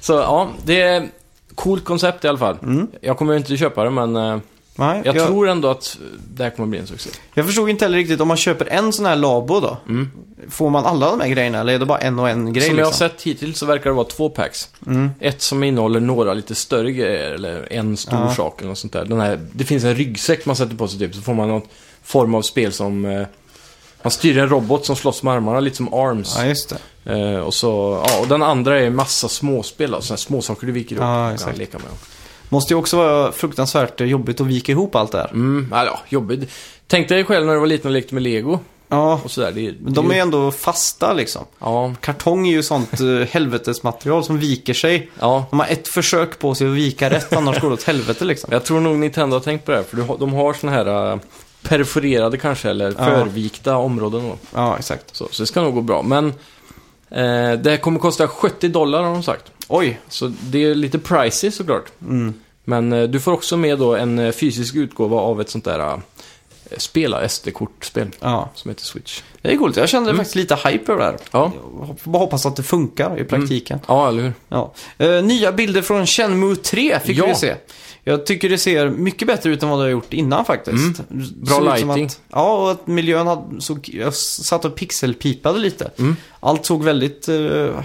[SPEAKER 2] Så ja, det är coolt koncept i alla fall.
[SPEAKER 1] Mm.
[SPEAKER 2] Jag kommer ju inte köpa det men eh,
[SPEAKER 1] Nej,
[SPEAKER 2] jag
[SPEAKER 1] jag, jag,
[SPEAKER 2] tror ändå att det här kommer bli en succé.
[SPEAKER 1] förstod inte heller riktigt, om man köper en sån här labo då,
[SPEAKER 2] Mm.
[SPEAKER 1] får man alla de här grejerna eller är det bara en och en grej?
[SPEAKER 2] som jag har
[SPEAKER 1] liksom?
[SPEAKER 2] sett hittills så verkar det vara två packs.
[SPEAKER 1] Mm.
[SPEAKER 2] Ett som innehåller några lite större grejer, eller en stor
[SPEAKER 1] Ja.
[SPEAKER 2] sak eller något sånt där. Den här, det finns en ryggsäck man sätter på sig typ, så får man någon form av spel som... Eh, man styr en robot som slåss med armarna, lite som ARMS.
[SPEAKER 1] Ja, just det.
[SPEAKER 2] Eh, och, så, ja, och den andra är massa småspel, då, såna här småsaker du viker upp
[SPEAKER 1] Ja,
[SPEAKER 2] och kan
[SPEAKER 1] exakt.
[SPEAKER 2] leka med.
[SPEAKER 1] Måste ju också vara fruktansvärt jobbigt att vika ihop allt det här.
[SPEAKER 2] Mm, ja, ja, jobbigt. Tänk dig själv när du var liten och lekte med lego
[SPEAKER 1] Ja,
[SPEAKER 2] och sådär. Det, det,
[SPEAKER 1] men de är ju ändå fasta liksom.
[SPEAKER 2] Ja,
[SPEAKER 1] Kartong är ju sånt eh, helvetesmaterial som viker sig.
[SPEAKER 2] ja.
[SPEAKER 1] De har ett försök på sig att vika rätt, annars går det åt helvete liksom.
[SPEAKER 2] Jag tror nog Nintendo har tänkt på det här, för du har- de har såna här eh, perforerade kanske, eller förvikta områden då.
[SPEAKER 1] Ja, exakt.
[SPEAKER 2] Så, så det ska nog gå bra. Men eh, det här kommer kosta 70 dollar har de sagt.
[SPEAKER 1] Oj,
[SPEAKER 2] Så det är lite pricey såklart. Men eh, du får också med då en eh, fysisk utgåva av ett sånt där eh, spela SD-kortspel
[SPEAKER 1] ja.
[SPEAKER 2] som heter Switch.
[SPEAKER 1] Det är coolt. Jag kände faktiskt lite hype över det här. Mm.
[SPEAKER 2] Ja,
[SPEAKER 1] Jag hop- bara hoppas att det funkar i praktiken.
[SPEAKER 2] ja eller hur?
[SPEAKER 1] Ja. Eh, nya bilder från Shenmue 3 fick
[SPEAKER 2] Ja.
[SPEAKER 1] vi se. Jag tycker det ser mycket bättre ut än vad det har gjort innan faktiskt.
[SPEAKER 2] Bra
[SPEAKER 1] Såg ut som
[SPEAKER 2] lighting.
[SPEAKER 1] Att, ja, och att miljön hade, såg, jag satt och pixelpipade lite. Allt såg väldigt eh,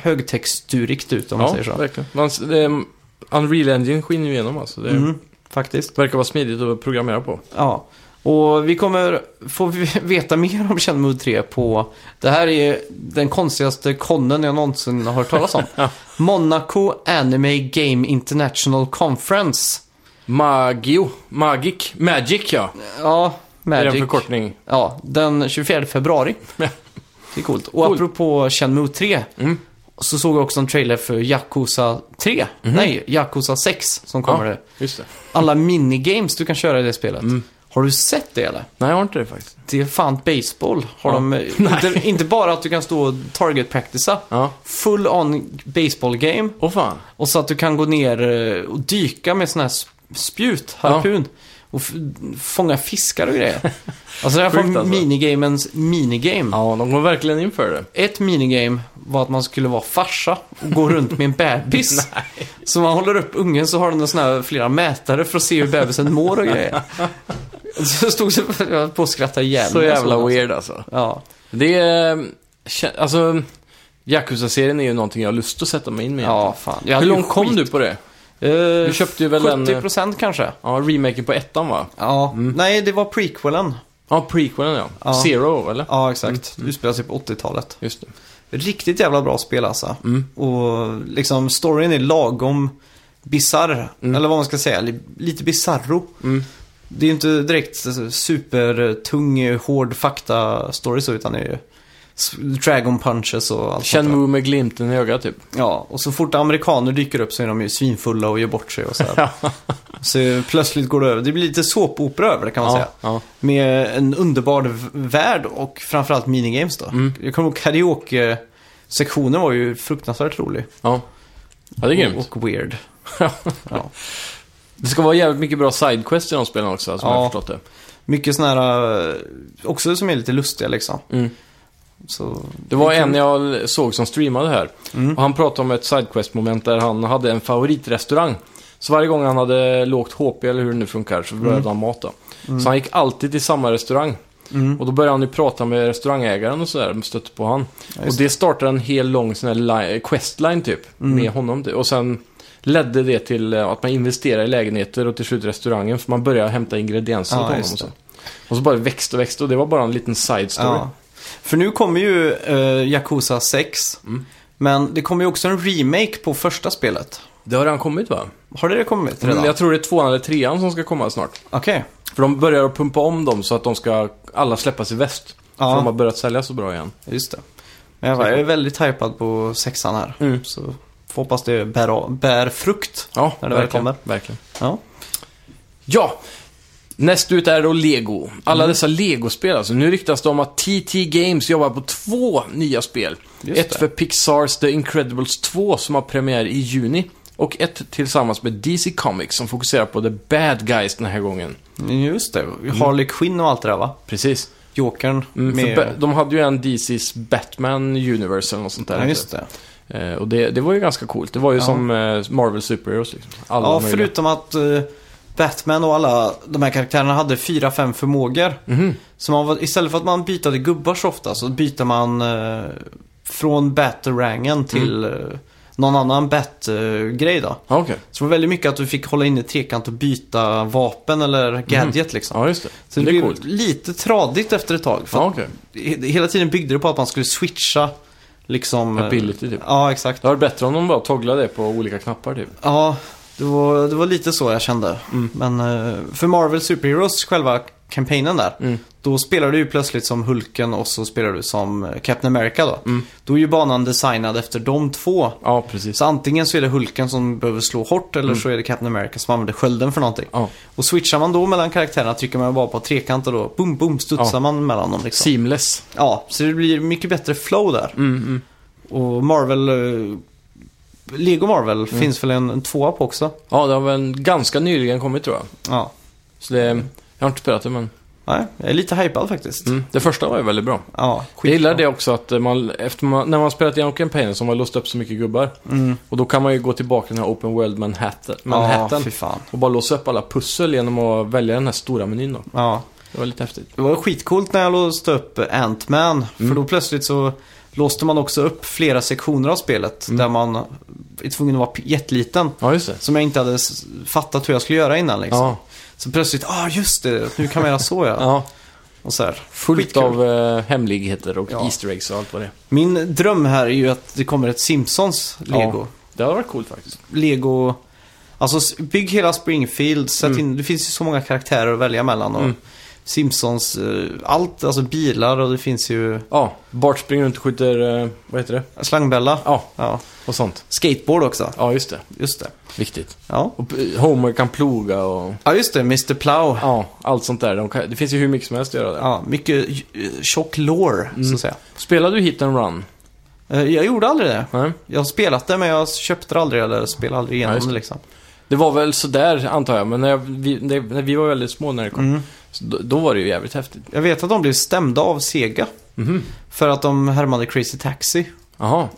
[SPEAKER 1] högtexturigt ut om man
[SPEAKER 2] Ja,
[SPEAKER 1] säger så.
[SPEAKER 2] verkligen. Man, s- det, är- Unreal Engine skiner ju igenom alltså. Det
[SPEAKER 1] Mm, faktiskt.
[SPEAKER 2] verkar vara smidigt att programmera på.
[SPEAKER 1] Ja. Och vi kommer få v- veta mer om Shenmue 3 på... Det här är den konstigaste konnen jag någonsin har hört talas om. Monaco Anime Game International Conference.
[SPEAKER 2] Magio. Magic. Magic ja.
[SPEAKER 1] Ja,
[SPEAKER 2] Magic. Är det
[SPEAKER 1] Magic.
[SPEAKER 2] en förkortning?
[SPEAKER 1] Ja, den 24 februari.
[SPEAKER 2] Ja.
[SPEAKER 1] Det är coolt. Och
[SPEAKER 2] Coolt.
[SPEAKER 1] apropå Shenmue 3.
[SPEAKER 2] Mm.
[SPEAKER 1] Så såg jag också en trailer för Yakuza 3. Nej, Yakuza 6 som kommer
[SPEAKER 2] Mhm. ja, Mm.
[SPEAKER 1] det.
[SPEAKER 2] Just det.
[SPEAKER 1] Alla minigames du kan köra i det spelet. Har du sett det eller?
[SPEAKER 2] Nej, jag har inte det faktiskt.
[SPEAKER 1] Det är fan baseball. Har
[SPEAKER 2] Ja.
[SPEAKER 1] de, inte, inte bara att du kan stå och target-practica.
[SPEAKER 2] Ja.
[SPEAKER 1] Full on baseball game.
[SPEAKER 2] Åh fan.
[SPEAKER 1] Och så att du kan gå ner eh, och dyka med sån här sp- spjut, harpun. Och f- fånga fiskar och grejer. Alltså det här
[SPEAKER 2] Sjukt,
[SPEAKER 1] var
[SPEAKER 2] alltså.
[SPEAKER 1] minigamens minigame.
[SPEAKER 2] Ja, de går verkligen in för det.
[SPEAKER 1] Ett minigame var att man skulle vara farsa och gå runt med en bebis. så man håller upp ungen så har den en sån här flera mätare för att se hur bebisen mår och grejer. Så stod så jag höll på att skratta ihjäl
[SPEAKER 2] Så
[SPEAKER 1] mig.
[SPEAKER 2] jävla
[SPEAKER 1] Alltså.
[SPEAKER 2] weird alltså.
[SPEAKER 1] Ja.
[SPEAKER 2] Det är... kä- Alltså... Yakuza-serien är ju någonting jag har lust att sätta mig in med.
[SPEAKER 1] ja, fan. Jag hade
[SPEAKER 2] Hur
[SPEAKER 1] ju
[SPEAKER 2] långt kom
[SPEAKER 1] skit-
[SPEAKER 2] du på det?
[SPEAKER 1] Eh,
[SPEAKER 2] Du köpte ju väl en-
[SPEAKER 1] 70% kanske. Mm.
[SPEAKER 2] Ja, remaken på ettan va?
[SPEAKER 1] Ja. Nej, det var prequelen.
[SPEAKER 2] Ja, prequelen ja.
[SPEAKER 1] Ja.
[SPEAKER 2] Zero, eller?
[SPEAKER 1] Ja, exakt. Du spelar sig på 80-talet.
[SPEAKER 2] Just det.
[SPEAKER 1] Riktigt jävla bra spel alltså. Och liksom storyn är lagom bizarr. Eller vad man ska säga, li- lite bizarro.
[SPEAKER 2] Mm.
[SPEAKER 1] Det är ju inte direkt alltså, supertung, eh, hård fakta-story så, utan det är ju s- dragon punches och allt sånt där.
[SPEAKER 2] Shenmue med glimten i ögat typ.
[SPEAKER 1] Ja, och så fort amerikaner dyker upp så är de ju svinfulla och gör bort sig och så här. Så plötsligt går det över. Det blir lite såpopera över det kan man säga.
[SPEAKER 2] ja.
[SPEAKER 1] Med en underbar v- värld och framförallt minigames då.
[SPEAKER 2] Mm.
[SPEAKER 1] Jag kommer ihåg karaoke-sektionen var ju fruktansvärt rolig.
[SPEAKER 2] Ja. ja, det är grymt.
[SPEAKER 1] Och, och weird. ja.
[SPEAKER 2] Det ska vara jävligt mycket bra sidequests i de spelen också, som
[SPEAKER 1] Ja.
[SPEAKER 2] jag har förstått det.
[SPEAKER 1] Mycket sådana här, eh, också som är lite lustiga liksom.
[SPEAKER 2] Mm.
[SPEAKER 1] Så,
[SPEAKER 2] Det var en jag såg som streamade här.
[SPEAKER 1] Mm.
[SPEAKER 2] Och han pratade om ett sidequest-moment där han hade en favoritrestaurang. Så varje gång han hade lågt HP, eller hur det nu funkar, så började han mata. Så han gick alltid till samma restaurang.
[SPEAKER 1] Mm.
[SPEAKER 2] Och då började han ju prata med restaurangägaren och sådär, stötte på han. och det startade en hel lång sån här li- questline typ,
[SPEAKER 1] Mm.
[SPEAKER 2] med honom. Och sen ledde det till eh, att man investerade i lägenheter och till slut restaurangen, för man började hämta ingredienser
[SPEAKER 1] Ja,
[SPEAKER 2] på honom.
[SPEAKER 1] just
[SPEAKER 2] Och så.
[SPEAKER 1] det.
[SPEAKER 2] och så bara växte och växte och det var bara en liten side story.
[SPEAKER 1] ja. För nu kommer ju eh, Yakuza 6.
[SPEAKER 2] Mm.
[SPEAKER 1] Men det kommer ju också en remake på första spelet.
[SPEAKER 2] Det har redan kommit va?
[SPEAKER 1] Har det, det kommit redan?
[SPEAKER 2] Mm, jag tror det är tvåan eller trean som ska komma snart.
[SPEAKER 1] Okej.
[SPEAKER 2] För de börjar att pumpa om dem så att de ska alla släppas i väst.
[SPEAKER 1] Ja.
[SPEAKER 2] För de har börjat sälja så bra igen.
[SPEAKER 1] Just det. Men jag, jag är väldigt hypad på sexan här.
[SPEAKER 2] Mm.
[SPEAKER 1] Så får hoppas det bär, av- bär frukt.
[SPEAKER 2] Ja,
[SPEAKER 1] När det väl kommer.
[SPEAKER 2] verkligen.
[SPEAKER 1] Ja.
[SPEAKER 2] Ja! Näst ut är då Lego. Alla
[SPEAKER 1] Mm.
[SPEAKER 2] dessa Lego-spel alltså. Nu ryktas det om att TT Games jobbar på två nya spel.
[SPEAKER 1] Just
[SPEAKER 2] ett
[SPEAKER 1] det.
[SPEAKER 2] för Pixars The Incredibles 2 som har premiär i juni. Och ett tillsammans med DC Comics som fokuserar på The Bad Guys den här gången.
[SPEAKER 1] Just det. Harley Quinn och allt det där va?
[SPEAKER 2] Precis.
[SPEAKER 1] Jokern
[SPEAKER 2] Mm, för
[SPEAKER 1] med...
[SPEAKER 2] ba- de hade ju en DC's Batman Universe eller något sånt där.
[SPEAKER 1] ja, just det.
[SPEAKER 2] Eh, och det, det var ju ganska coolt. Det var ju
[SPEAKER 1] Ja.
[SPEAKER 2] som eh, Marvel Superheroes liksom. Alla
[SPEAKER 1] Ja,
[SPEAKER 2] möjliga.
[SPEAKER 1] förutom att eh, Batman och alla de här karaktärerna hade fyra fem förmågor.
[SPEAKER 2] Mhm.
[SPEAKER 1] Så man var, istället för att man bytade gubbar så ofta så byter man eh, från Batarangen till
[SPEAKER 2] Mm.
[SPEAKER 1] eh, någon annan Bat-grej då.
[SPEAKER 2] Ja, Ah, okej.
[SPEAKER 1] Så det var väldigt mycket att du fick hålla inne i trekant och byta vapen eller gadget liksom.
[SPEAKER 2] Mhm. Ja, just det.
[SPEAKER 1] Så det,
[SPEAKER 2] det är
[SPEAKER 1] blev
[SPEAKER 2] coolt.
[SPEAKER 1] lite tradigt efter ett tag. För
[SPEAKER 2] Ja,
[SPEAKER 1] att
[SPEAKER 2] okej.
[SPEAKER 1] he- Hela tiden byggde det på att man skulle switcha liksom... eh,
[SPEAKER 2] Ability typ.
[SPEAKER 1] Ja, exakt.
[SPEAKER 2] Det hade varit bättre om de bara togglade det på olika knappar typ.
[SPEAKER 1] Ja, det var, det var lite så jag kände.
[SPEAKER 2] Mm.
[SPEAKER 1] Men eh, för Marvel Super Heroes, själva kampanjen där,
[SPEAKER 2] Mm.
[SPEAKER 1] då spelar du ju plötsligt som Hulken och så spelar du som eh, Captain America då.
[SPEAKER 2] Mm.
[SPEAKER 1] Då är ju banan designad efter de två.
[SPEAKER 2] Ja, precis.
[SPEAKER 1] Så antingen så är det Hulken som behöver slå hårt eller
[SPEAKER 2] Mm.
[SPEAKER 1] så är det Captain America som använder skölden för någonting.
[SPEAKER 2] Ja.
[SPEAKER 1] Och switchar man då mellan karaktärerna trycker man bara på trekant och då boom, boom studsar
[SPEAKER 2] Ja.
[SPEAKER 1] man mellan dem liksom.
[SPEAKER 2] Seamless.
[SPEAKER 1] Ja, så det blir mycket bättre flow där.
[SPEAKER 2] Mm,
[SPEAKER 1] Och Marvel, eh, Lego Marvel
[SPEAKER 2] Mm.
[SPEAKER 1] finns väl en, en tvåa på också.
[SPEAKER 2] Ja, det har väl ganska nyligen kommit tror jag.
[SPEAKER 1] Ja.
[SPEAKER 2] Så det... Jag har inte spelat det men...
[SPEAKER 1] Nej, jag är lite hypad faktiskt.
[SPEAKER 2] Mm. Det första var ju väldigt bra.
[SPEAKER 1] Ja,
[SPEAKER 2] Jag
[SPEAKER 1] skitbra.
[SPEAKER 2] gillar det också att eh, man, efter man, när man spelat igenom kampanjen så har man låst upp så mycket gubbar. Och då kan man ju gå tillbaka till den här Open World Manhattan.
[SPEAKER 1] Ja,
[SPEAKER 2] Manhattan
[SPEAKER 1] fy fan.
[SPEAKER 2] och bara låsa upp alla pussel genom att välja den här stora menyn då.
[SPEAKER 1] Ja.
[SPEAKER 2] Det var lite häftigt.
[SPEAKER 1] Det var skitcoolt när jag låste upp Ant-Man. För
[SPEAKER 2] Mm.
[SPEAKER 1] då plötsligt så låste man också upp flera sektioner av spelet.
[SPEAKER 2] Mm.
[SPEAKER 1] Där man är tvungen att vara p- jätteliten.
[SPEAKER 2] Ja, just det.
[SPEAKER 1] Som jag inte hade s- fattat hur jag skulle göra innan liksom.
[SPEAKER 2] Ja,
[SPEAKER 1] Så plötsligt, ah just det, nu kan man göra så ja.
[SPEAKER 2] ja.
[SPEAKER 1] Och så här.
[SPEAKER 2] Fullt
[SPEAKER 1] Skitkul.
[SPEAKER 2] av eh, hemligheter och
[SPEAKER 1] Ja.
[SPEAKER 2] Easter eggs och allt vad det är.
[SPEAKER 1] Min dröm här är ju att det kommer ett Simpsons Lego.
[SPEAKER 2] Det hade varit coolt faktiskt.
[SPEAKER 1] Lego Alltså s- bygg hela Springfield, sätt
[SPEAKER 2] Mm.
[SPEAKER 1] in, det finns ju så många karaktärer att välja mellan. Och Simpsons, eh, allt, alltså bilar och det finns ju
[SPEAKER 2] Ja, Bart springer runt och skjuter, eh, vad heter det?
[SPEAKER 1] slangbella.
[SPEAKER 2] Ja,
[SPEAKER 1] Ja.
[SPEAKER 2] och sånt.
[SPEAKER 1] Skateboard också,
[SPEAKER 2] Ja, just det.
[SPEAKER 1] just det.
[SPEAKER 2] Viktigt.
[SPEAKER 1] Ja,
[SPEAKER 2] Och eh, Homer kan ploga och...
[SPEAKER 1] ja just det, Mr. Plow.
[SPEAKER 2] Ja, allt sånt där. De kan, det finns ju hur mycket som helst att göra där.
[SPEAKER 1] Ja, mycket eh, tjock lore, så
[SPEAKER 2] Mm.
[SPEAKER 1] att säga.
[SPEAKER 2] Spelar du Hit and Run?
[SPEAKER 1] Eh, Jag gjorde aldrig det.
[SPEAKER 2] Nej.
[SPEAKER 1] Jag har spelat det men jag köpte det aldrig eller spelade aldrig igenom
[SPEAKER 2] Ja, just
[SPEAKER 1] det
[SPEAKER 2] det.
[SPEAKER 1] liksom.
[SPEAKER 2] Det var väl sådär, antar jag, men när, jag, vi, när, när vi var väldigt små när det kom.
[SPEAKER 1] Mm.
[SPEAKER 2] Så då, då var det ju jävligt häftigt.
[SPEAKER 1] Jag vet att de blev stämda av Sega.
[SPEAKER 2] Mhm.
[SPEAKER 1] För att de härmade Crazy Taxi.
[SPEAKER 2] Jaha.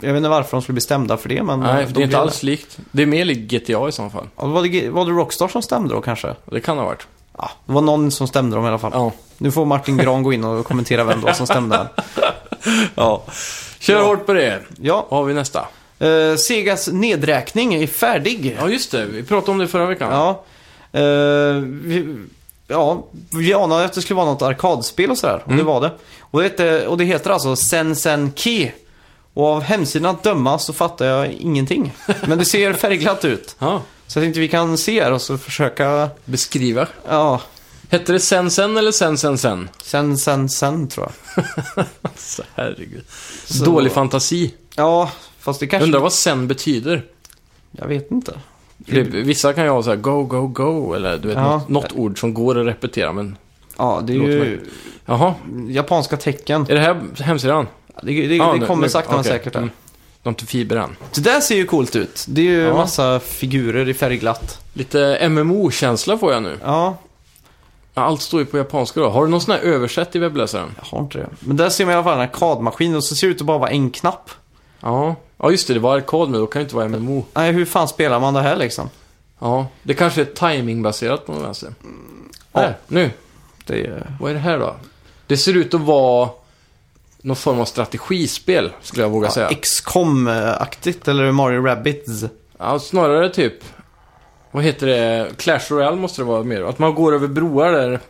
[SPEAKER 1] Jag vet inte varför de skulle bli stämda för det men...
[SPEAKER 2] Nej,
[SPEAKER 1] eh,
[SPEAKER 2] för
[SPEAKER 1] de
[SPEAKER 2] det är inte
[SPEAKER 1] blev
[SPEAKER 2] alls likt. Det är mer likt GTA i så fall.
[SPEAKER 1] Ja, Var det, var det Rockstar som stämde då kanske?
[SPEAKER 2] Det kan ha varit.
[SPEAKER 1] Ja, det var någon som stämde dem i alla fall.
[SPEAKER 2] Ja.
[SPEAKER 1] Nu får Martin Gran gå in och kommentera vem det var som stämde. här.
[SPEAKER 2] ja. Kör
[SPEAKER 1] Ja.
[SPEAKER 2] hårt på det.
[SPEAKER 1] Ja,
[SPEAKER 2] Vad har vi nästa?
[SPEAKER 1] eh, Segas nedräkning är färdig.
[SPEAKER 2] Ja, just det. Vi pratade om det förra veckan.
[SPEAKER 1] Ja. Eh, vi, ja, vi anade att det skulle vara något arkadspel och sådär. Och
[SPEAKER 2] Mm.
[SPEAKER 1] det var det. Och det, hette- och det heter alltså Sensen Key. Och av hemsidan att döma så fattar jag ingenting. Men det ser färgglatt ut.
[SPEAKER 2] Ja.
[SPEAKER 1] Så jag tänkte vi kan se här och så försöka,
[SPEAKER 2] Beskriva.
[SPEAKER 1] ja,
[SPEAKER 2] Hette det sen sen eller sen sen sen?
[SPEAKER 1] sen, sen, sen tror jag.
[SPEAKER 2] Alltså, herregud.
[SPEAKER 1] Så-
[SPEAKER 2] Dålig fantasi.
[SPEAKER 1] Ja, fast det kanske...
[SPEAKER 2] Undrar vad sen betyder.
[SPEAKER 1] Jag vet inte.
[SPEAKER 2] För det, vissa kan ju ha så här go, go, go eller du vet
[SPEAKER 1] Ja.
[SPEAKER 2] något, något ord som går att repetera men...
[SPEAKER 1] Ja, det är
[SPEAKER 2] Låter
[SPEAKER 1] ju
[SPEAKER 2] Jaha,
[SPEAKER 1] japanska tecken.
[SPEAKER 2] är det här hemsidan?
[SPEAKER 1] Det, det,
[SPEAKER 2] Ja,
[SPEAKER 1] det
[SPEAKER 2] nu-
[SPEAKER 1] kommer
[SPEAKER 2] nu-
[SPEAKER 1] sakta men
[SPEAKER 2] okej.
[SPEAKER 1] säkert. Där.
[SPEAKER 2] Mm. De har inte fiber än.
[SPEAKER 1] Det där ser ju coolt ut. Det är ju
[SPEAKER 2] Ja.
[SPEAKER 1] massa figurer i färgglatt.
[SPEAKER 2] Lite MMO-känsla får jag nu.
[SPEAKER 1] Ja,
[SPEAKER 2] Ja, Allt står ju på japanska då. Har du någon sån här översätt i webbläsaren?
[SPEAKER 1] Jag har inte det. Men där ser man i alla fall en arkadmaskin och så ser det ut att bara vara en knapp.
[SPEAKER 2] Ja. Ja, just det. Det var arkad men då kan det inte vara MMO.
[SPEAKER 1] Nej, hur fan spelar man det här liksom?
[SPEAKER 2] Ja. Det kanske är timingbaserat på något vänster.
[SPEAKER 1] Ja.
[SPEAKER 2] Där, nu.
[SPEAKER 1] Det är...
[SPEAKER 2] Vad är det här då? Det ser ut att vara någon form av strategispel, skulle jag våga
[SPEAKER 1] Ja,
[SPEAKER 2] säga.
[SPEAKER 1] XCOM-aktigt eller Mario Rabbids.
[SPEAKER 2] Ja, snarare typ... Vad heter det? Clash Royale måste det vara mer. Att man går över broar där.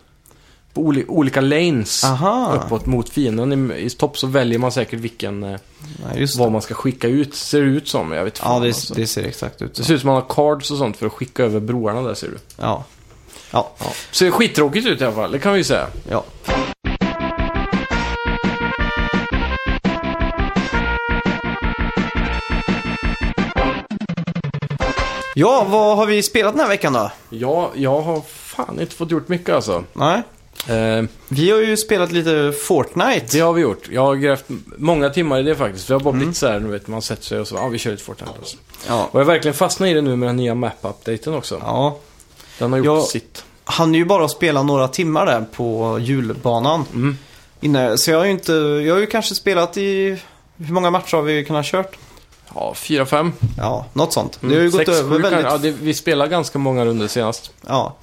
[SPEAKER 2] På oli- olika lanes.
[SPEAKER 1] Aha,
[SPEAKER 2] Uppåt mot fienden i, i topp så väljer man säkert vilken... Eh,
[SPEAKER 1] Nej, just det.
[SPEAKER 2] vad man ska skicka ut. Ser det ut som. Jag vet
[SPEAKER 1] Ja,
[SPEAKER 2] fan,
[SPEAKER 1] det,
[SPEAKER 2] alltså.
[SPEAKER 1] det ser exakt ut
[SPEAKER 2] det
[SPEAKER 1] så.
[SPEAKER 2] ser ut som man har cards och sånt för att skicka över broarna där ser du.
[SPEAKER 1] Ja. Ja.
[SPEAKER 2] Ser skittråkigt ut i alla fall, det kan vi ju säga.
[SPEAKER 1] ja. Ja, vad har vi spelat den här veckan då?
[SPEAKER 2] Ja, jag har fan inte fått gjort mycket alltså.
[SPEAKER 1] Nej.
[SPEAKER 2] Eh,
[SPEAKER 1] Vi har ju spelat lite Fortnite.
[SPEAKER 2] Det har vi gjort. Jag har grävt många timmar i det faktiskt. För jag har bara
[SPEAKER 1] Mm.
[SPEAKER 2] blivit så här, nu vet man sätter sig och så, ja vi kör lite Fortnite. Alltså.
[SPEAKER 1] Ja.
[SPEAKER 2] Och jag har verkligen fastnat i det nu med den nya map-updaten också.
[SPEAKER 1] ja.
[SPEAKER 2] Den har gjort
[SPEAKER 1] Jag-
[SPEAKER 2] sitt.
[SPEAKER 1] Han är ju bara att spela några timmar där på julbanan.
[SPEAKER 2] Mm.
[SPEAKER 1] Innan, så jag har ju inte, jag har ju kanske spelat i, hur många matcher har vi kunnat kört?
[SPEAKER 2] Ja, 4-5.
[SPEAKER 1] Ja, något sånt. Det har ju gått
[SPEAKER 2] Mm. Sex,
[SPEAKER 1] över
[SPEAKER 2] sju
[SPEAKER 1] väldigt,
[SPEAKER 2] kanske. Ja, det, vi spelade ganska många runder senast.
[SPEAKER 1] ja.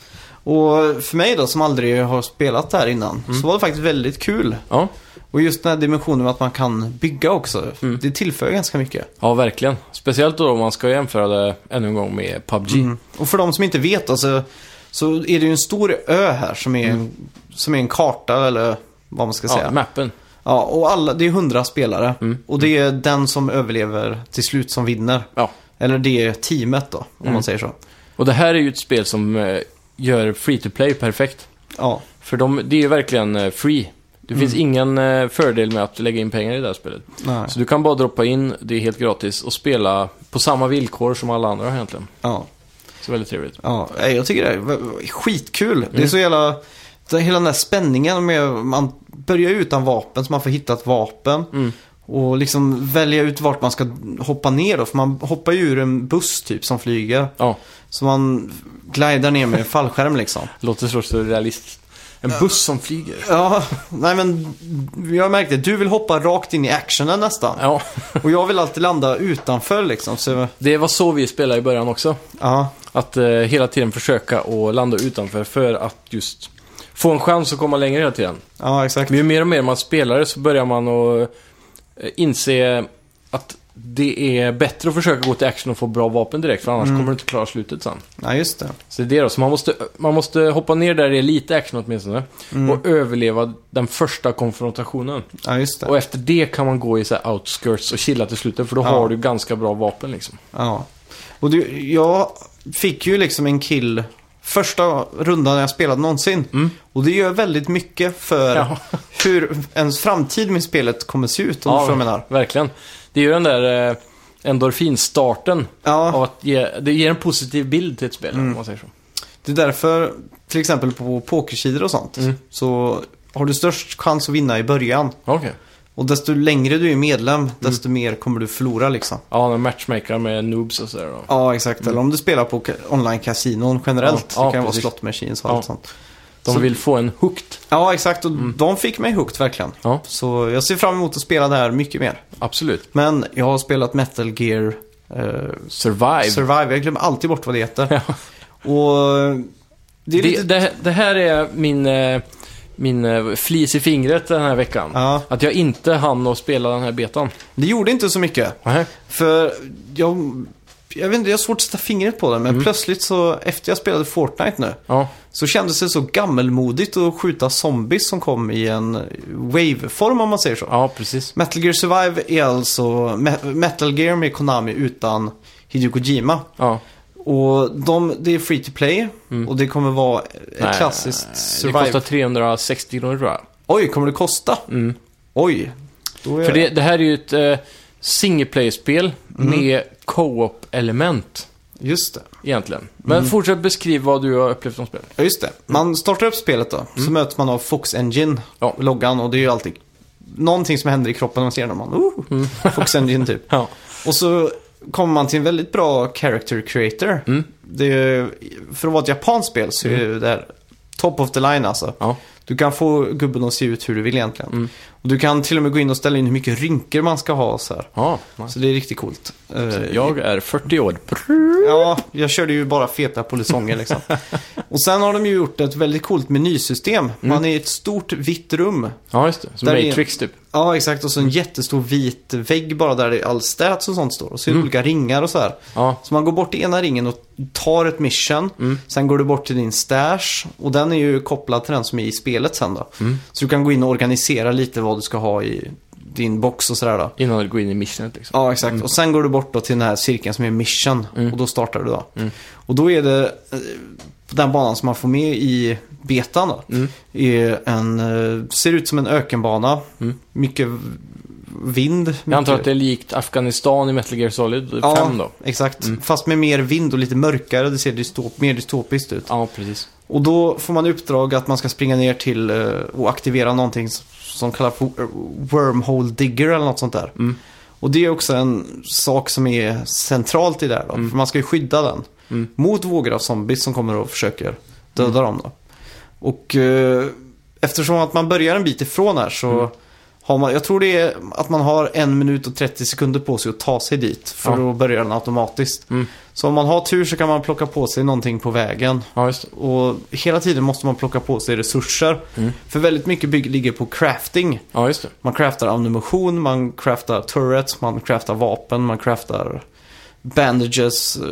[SPEAKER 1] Och för mig då som aldrig har spelat det här innan
[SPEAKER 2] Mm.
[SPEAKER 1] så var det faktiskt väldigt kul.
[SPEAKER 2] Ja,
[SPEAKER 1] Och just den här dimensionen med att man kan bygga också.
[SPEAKER 2] Mm.
[SPEAKER 1] Det tillför ganska mycket.
[SPEAKER 2] ja verkligen. Speciellt då om man ska jämföra det ännu en gång med PubG.
[SPEAKER 1] Mm. Och för de som inte vet alltså, så är det ju en stor ö här som är, som är en karta eller vad man ska säga.
[SPEAKER 2] Mm. Ja, mappen.
[SPEAKER 1] Ja, och alla, det är hundra spelare. Och det är den som överlever till slut som vinner.
[SPEAKER 2] Ja.
[SPEAKER 1] Eller det är teamet då, om man säger så.
[SPEAKER 2] Och det här är ju ett spel som eh, gör free-to-play perfekt.
[SPEAKER 1] Ja,
[SPEAKER 2] För de, det är ju verkligen eh, free. Det
[SPEAKER 1] Mm.
[SPEAKER 2] finns ingen eh, fördel med att lägga in pengar i det här spelet.
[SPEAKER 1] nej.
[SPEAKER 2] Så du kan bara droppa in, det är helt gratis, och spela på samma villkor som alla andra egentligen.
[SPEAKER 1] Ja,
[SPEAKER 2] Så väldigt trevligt.
[SPEAKER 1] ja. Nej, jag tycker det är v- skitkul. Det är så jävla... det- Hela den där spänningen med... Man börjar ju utan vapen, så man får hitta ett vapen. Och liksom välja ut vart man ska hoppa ner då. För man hoppar ju ur en buss typ som flyger.
[SPEAKER 2] Ja,
[SPEAKER 1] Så man glidar ner med en fallskärm liksom.
[SPEAKER 2] låter så surrealistiskt. En buss som flyger.
[SPEAKER 1] Ja, nej men jag märkte Du vill hoppa rakt in i actionen nästan.
[SPEAKER 2] Ja,
[SPEAKER 1] Och jag vill alltid landa utanför liksom. Så,
[SPEAKER 2] det var så vi spelade i början också.
[SPEAKER 1] ja,
[SPEAKER 2] Att eh, hela tiden försöka att landa utanför för att just få en chans att komma längre hela tiden.
[SPEAKER 1] ja exakt.
[SPEAKER 2] Men ju mer och mer man spelar så börjar man att eh, inse att det är bättre att försöka gå till action och få bra vapen direkt, för annars kommer du inte klara slutet sen.
[SPEAKER 1] Ja, just det.
[SPEAKER 2] Så det är det då. Så man måste, man måste hoppa ner där det är lite action åtminstone.
[SPEAKER 1] Mm.
[SPEAKER 2] Och överleva den första konfrontationen.
[SPEAKER 1] Ja, just
[SPEAKER 2] Och
[SPEAKER 1] det.
[SPEAKER 2] efter det kan man gå i så här outskirts och chilla till slutet. För då
[SPEAKER 1] Ja.
[SPEAKER 2] har du ganska bra vapen liksom.
[SPEAKER 1] Ja. Och det, jag fick ju liksom en kill första rundan jag spelade någonsin. Och det gör väldigt mycket för
[SPEAKER 2] Mm. Ja.
[SPEAKER 1] hur ens framtid med spelet kommer se ut, om du förstår vad jag menar.
[SPEAKER 2] verkligen. Det är ju den där eh, endorfinstarten.
[SPEAKER 1] Ja. Mm.
[SPEAKER 2] Av att ge, det ger en positiv bild till ett spel, om man säger så.
[SPEAKER 1] Det är därför, till exempel på pokersidor och sånt,
[SPEAKER 2] Mm.
[SPEAKER 1] så har du störst chans att vinna i början.
[SPEAKER 2] Okej.
[SPEAKER 1] Och desto längre du är
[SPEAKER 2] Mm.
[SPEAKER 1] medlem, desto mer kommer du förlora liksom.
[SPEAKER 2] Ja, när matchmakar med noobs och sådär då.
[SPEAKER 1] Ja, exakt. Eller om du spelar på ka- online-kasinon generellt.
[SPEAKER 2] Ja,
[SPEAKER 1] det
[SPEAKER 2] ja,
[SPEAKER 1] kan ju vara
[SPEAKER 2] precis.
[SPEAKER 1] slot machines och
[SPEAKER 2] Ja. Mm.
[SPEAKER 1] allt sånt.
[SPEAKER 2] De
[SPEAKER 1] Så-
[SPEAKER 2] vill få en hooked.
[SPEAKER 1] Ja, exakt. Och de fick mig hooked verkligen.
[SPEAKER 2] Ja.
[SPEAKER 1] Så jag ser fram emot att spela det här mycket mer.
[SPEAKER 2] Absolut.
[SPEAKER 1] Men jag har spelat Metal Gear eh,
[SPEAKER 2] Survive.
[SPEAKER 1] Survive. Jag glömmer alltid bort vad det heter.
[SPEAKER 2] Ja.
[SPEAKER 1] Och det är
[SPEAKER 2] det,
[SPEAKER 1] lite...
[SPEAKER 2] det, det här är min, eh, min eh, flis i fingret den här veckan.
[SPEAKER 1] Ja,
[SPEAKER 2] Att jag inte hann att spela den här betan.
[SPEAKER 1] det gjorde inte så mycket.
[SPEAKER 2] Nej.
[SPEAKER 1] För jag... Jag vet inte, jag har svårt att sätta fingret på det.
[SPEAKER 2] Mm.
[SPEAKER 1] Men plötsligt så, efter jag spelade Fortnite nu,
[SPEAKER 2] Ja,
[SPEAKER 1] så kändes det så gammelmodigt att skjuta zombies som kom i en wave-form om man säger så.
[SPEAKER 2] ja, precis.
[SPEAKER 1] Metal Gear Survive är alltså me- Metal Gear med Konami utan Hideo Kojima.
[SPEAKER 2] Ja.
[SPEAKER 1] Och de, det är free to play och det kommer vara ett
[SPEAKER 2] Mm. Nej,
[SPEAKER 1] klassiskt
[SPEAKER 2] Det
[SPEAKER 1] survive.
[SPEAKER 2] kostar 360 kronor tror jag.
[SPEAKER 1] Oj, kommer det kosta?
[SPEAKER 2] Mm.
[SPEAKER 1] Oj. Då är
[SPEAKER 2] För det, det här är ju ett eh, singleplay-spel med co-op-element
[SPEAKER 1] Just det.
[SPEAKER 2] egentligen. Men fortsätt beskriva vad du har upplevt som spel.
[SPEAKER 1] Ja, just det. Man startar upp spelet då, så möts man av Fox Engine,
[SPEAKER 2] Mm. Ja.
[SPEAKER 1] loggan, och det är ju alltid någonting som händer i kroppen när man ser den. och Man, oh,
[SPEAKER 2] Mm.
[SPEAKER 1] Fox Engine typ.
[SPEAKER 2] Ja.
[SPEAKER 1] Och så kommer man till en väldigt bra character creator.
[SPEAKER 2] Mm.
[SPEAKER 1] Det är, för att vara ett japanskt spel så är det där top of the line alltså.
[SPEAKER 2] Ja. Mm.
[SPEAKER 1] Du kan få gubben att se ut hur du vill egentligen. Och du kan till och med gå in och ställa in hur mycket rynkor man ska ha och så här.
[SPEAKER 2] Ja, nice.
[SPEAKER 1] Så det är riktigt coolt. Eh,
[SPEAKER 2] Jag är 40 år.
[SPEAKER 1] Ja, jag körde ju bara feta polisonger liksom. Och sen har de ju gjort ett väldigt coolt
[SPEAKER 2] Mm.
[SPEAKER 1] menysystem. Man är i ett stort vitt rum.
[SPEAKER 2] Ja, just det. Som
[SPEAKER 1] Där är-
[SPEAKER 2] Matrix typ.
[SPEAKER 1] Ja, exakt. Och så en jättestor vit vägg bara där det är all stats och sånt står. Och
[SPEAKER 2] Mm.
[SPEAKER 1] så är det olika ringar och så här.
[SPEAKER 2] Ja.
[SPEAKER 1] Så man går bort till ena ringen och tar ett mission.
[SPEAKER 2] Mm.
[SPEAKER 1] Sen går du bort till din stash. Och den är ju kopplad till den som är i spelet sen då.
[SPEAKER 2] Mm.
[SPEAKER 1] Så du kan gå in och organisera lite vad du ska ha i din box och sådär då.
[SPEAKER 2] Innan du går in i missionet liksom.
[SPEAKER 1] Ja, exakt. Och sen går du bort då till den här cirkeln som är mission.
[SPEAKER 2] Mm.
[SPEAKER 1] Och då startar du då. Och då är det eh, den banan som man får med i betan då.
[SPEAKER 2] Mm.
[SPEAKER 1] Är en, eh, ser ut som en ökenbana. Mycket v- vind.
[SPEAKER 2] Mm. Jag antar
[SPEAKER 1] mycket-
[SPEAKER 2] att det är likt Afghanistan i Metal Gear Solid 5
[SPEAKER 1] Ja,
[SPEAKER 2] då.
[SPEAKER 1] exakt. Fast med mer vind och lite mörkare. Det ser dystop, mer dystopiskt ut.
[SPEAKER 2] Ja, precis.
[SPEAKER 1] Och då får man i uppdrag att man ska springa ner till eh, och aktivera någonting s- som kallas för eh, wormhole digger eller något sånt där.
[SPEAKER 2] Mm.
[SPEAKER 1] Och det är också en sak som är centralt i det här då.
[SPEAKER 2] Mm.
[SPEAKER 1] För man ska ju skydda den mot vågor av zombies som kommer och försöker
[SPEAKER 2] Mm.
[SPEAKER 1] döda dem då. Och eh, eftersom att man börjar en bit ifrån här så
[SPEAKER 2] Mm.
[SPEAKER 1] har man, jag tror det är att man har en minut och 30 sekunder på sig att ta sig dit. För
[SPEAKER 2] Ja.
[SPEAKER 1] då börjar den automatiskt.
[SPEAKER 2] Mm.
[SPEAKER 1] Så om man har tur så kan man plocka på sig någonting på vägen.
[SPEAKER 2] Ja, just det.
[SPEAKER 1] Och hela tiden måste man plocka på sig resurser.
[SPEAKER 2] Mm.
[SPEAKER 1] För väldigt mycket bygg ligger på crafting.
[SPEAKER 2] Ja, just det.
[SPEAKER 1] Man craftar ammunition, man craftar turrets, man craftar vapen, man craftar bandages, eh,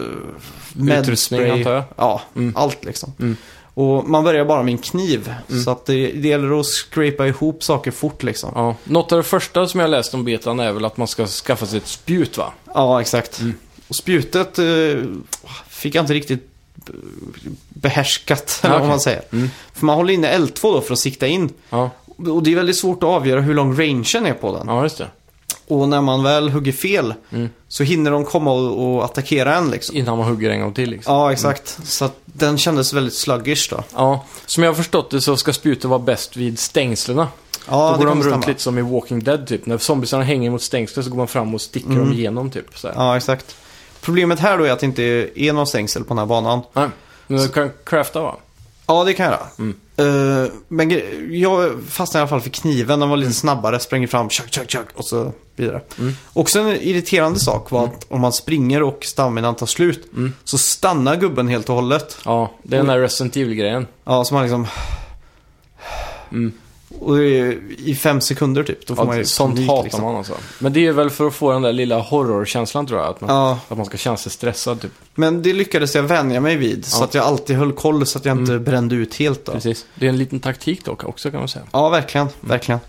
[SPEAKER 2] Utrustning, antar jag. Mm.
[SPEAKER 1] Ja, allt liksom. Och man börjar bara med en kniv.
[SPEAKER 2] Mm.
[SPEAKER 1] Så att det, det gäller att scrapa ihop saker fort liksom. Ja,
[SPEAKER 2] Ja. Något av det första som jag läste om betan är väl att man ska skaffa sig ett spjut va?
[SPEAKER 1] exakt.
[SPEAKER 2] Mm.
[SPEAKER 1] Och spjutet eh, fick jag inte riktigt eh, behärskat, eller vad
[SPEAKER 2] okej. Mm.
[SPEAKER 1] man säger. För man håller inne L2 då för att sikta in.
[SPEAKER 2] Ja,
[SPEAKER 1] Och det är väldigt svårt att avgöra hur lång rangen är på den.
[SPEAKER 2] ja Mm. just det.
[SPEAKER 1] Och när man väl hugger fel så hinner de komma och, och attackera en liksom.
[SPEAKER 2] Innan man hugger en gång till liksom.
[SPEAKER 1] Ja, exakt. Så att den kändes väldigt sluggish då.
[SPEAKER 2] Ja, som jag har förstått det så ska spjutet vara bäst vid stängslena.
[SPEAKER 1] Ja,
[SPEAKER 2] då går de
[SPEAKER 1] kommer
[SPEAKER 2] runt
[SPEAKER 1] stämma.
[SPEAKER 2] lite som i Walking Dead typ. När zombiesarna hänger mot stängslet så går man fram och sticker dem igenom typ. Så här.
[SPEAKER 1] Ja, exakt. Problemet här då är att det inte är någon stängsel på den här banan.
[SPEAKER 2] Nej. Men du kan crafta va?
[SPEAKER 1] Ja, det kan jag göra.
[SPEAKER 2] Mm.
[SPEAKER 1] Eh, men gre- jag fastnade i alla fall för kniven. Den var lite
[SPEAKER 2] Mm.
[SPEAKER 1] snabbare, spränger fram, tjock, tjock, tjock och så vidare. Också en irriterande sak
[SPEAKER 2] Mm.
[SPEAKER 1] var att om man springer och staminan tar slut så stannar gubben helt och hållet.
[SPEAKER 2] Ja, det är den där Resident Evil-grejen.
[SPEAKER 1] Ja, så man liksom... Och det är i fem sekunder typ. Då får man ju
[SPEAKER 2] Mm. Ja, sånt
[SPEAKER 1] panik,
[SPEAKER 2] hatar
[SPEAKER 1] liksom.
[SPEAKER 2] man alltså. Men det är väl för att få den där lilla horrorkänslan tror jag. Att man,
[SPEAKER 1] Ja,
[SPEAKER 2] att man ska känna sig stressad typ.
[SPEAKER 1] men det lyckades jag vänja mig vid. Så
[SPEAKER 2] Ja. Mm.
[SPEAKER 1] att jag alltid höll koll så att jag inte brände ut helt då.
[SPEAKER 2] Precis. Det är en liten taktik dock också kan man säga.
[SPEAKER 1] Ja, verkligen. Verkligen.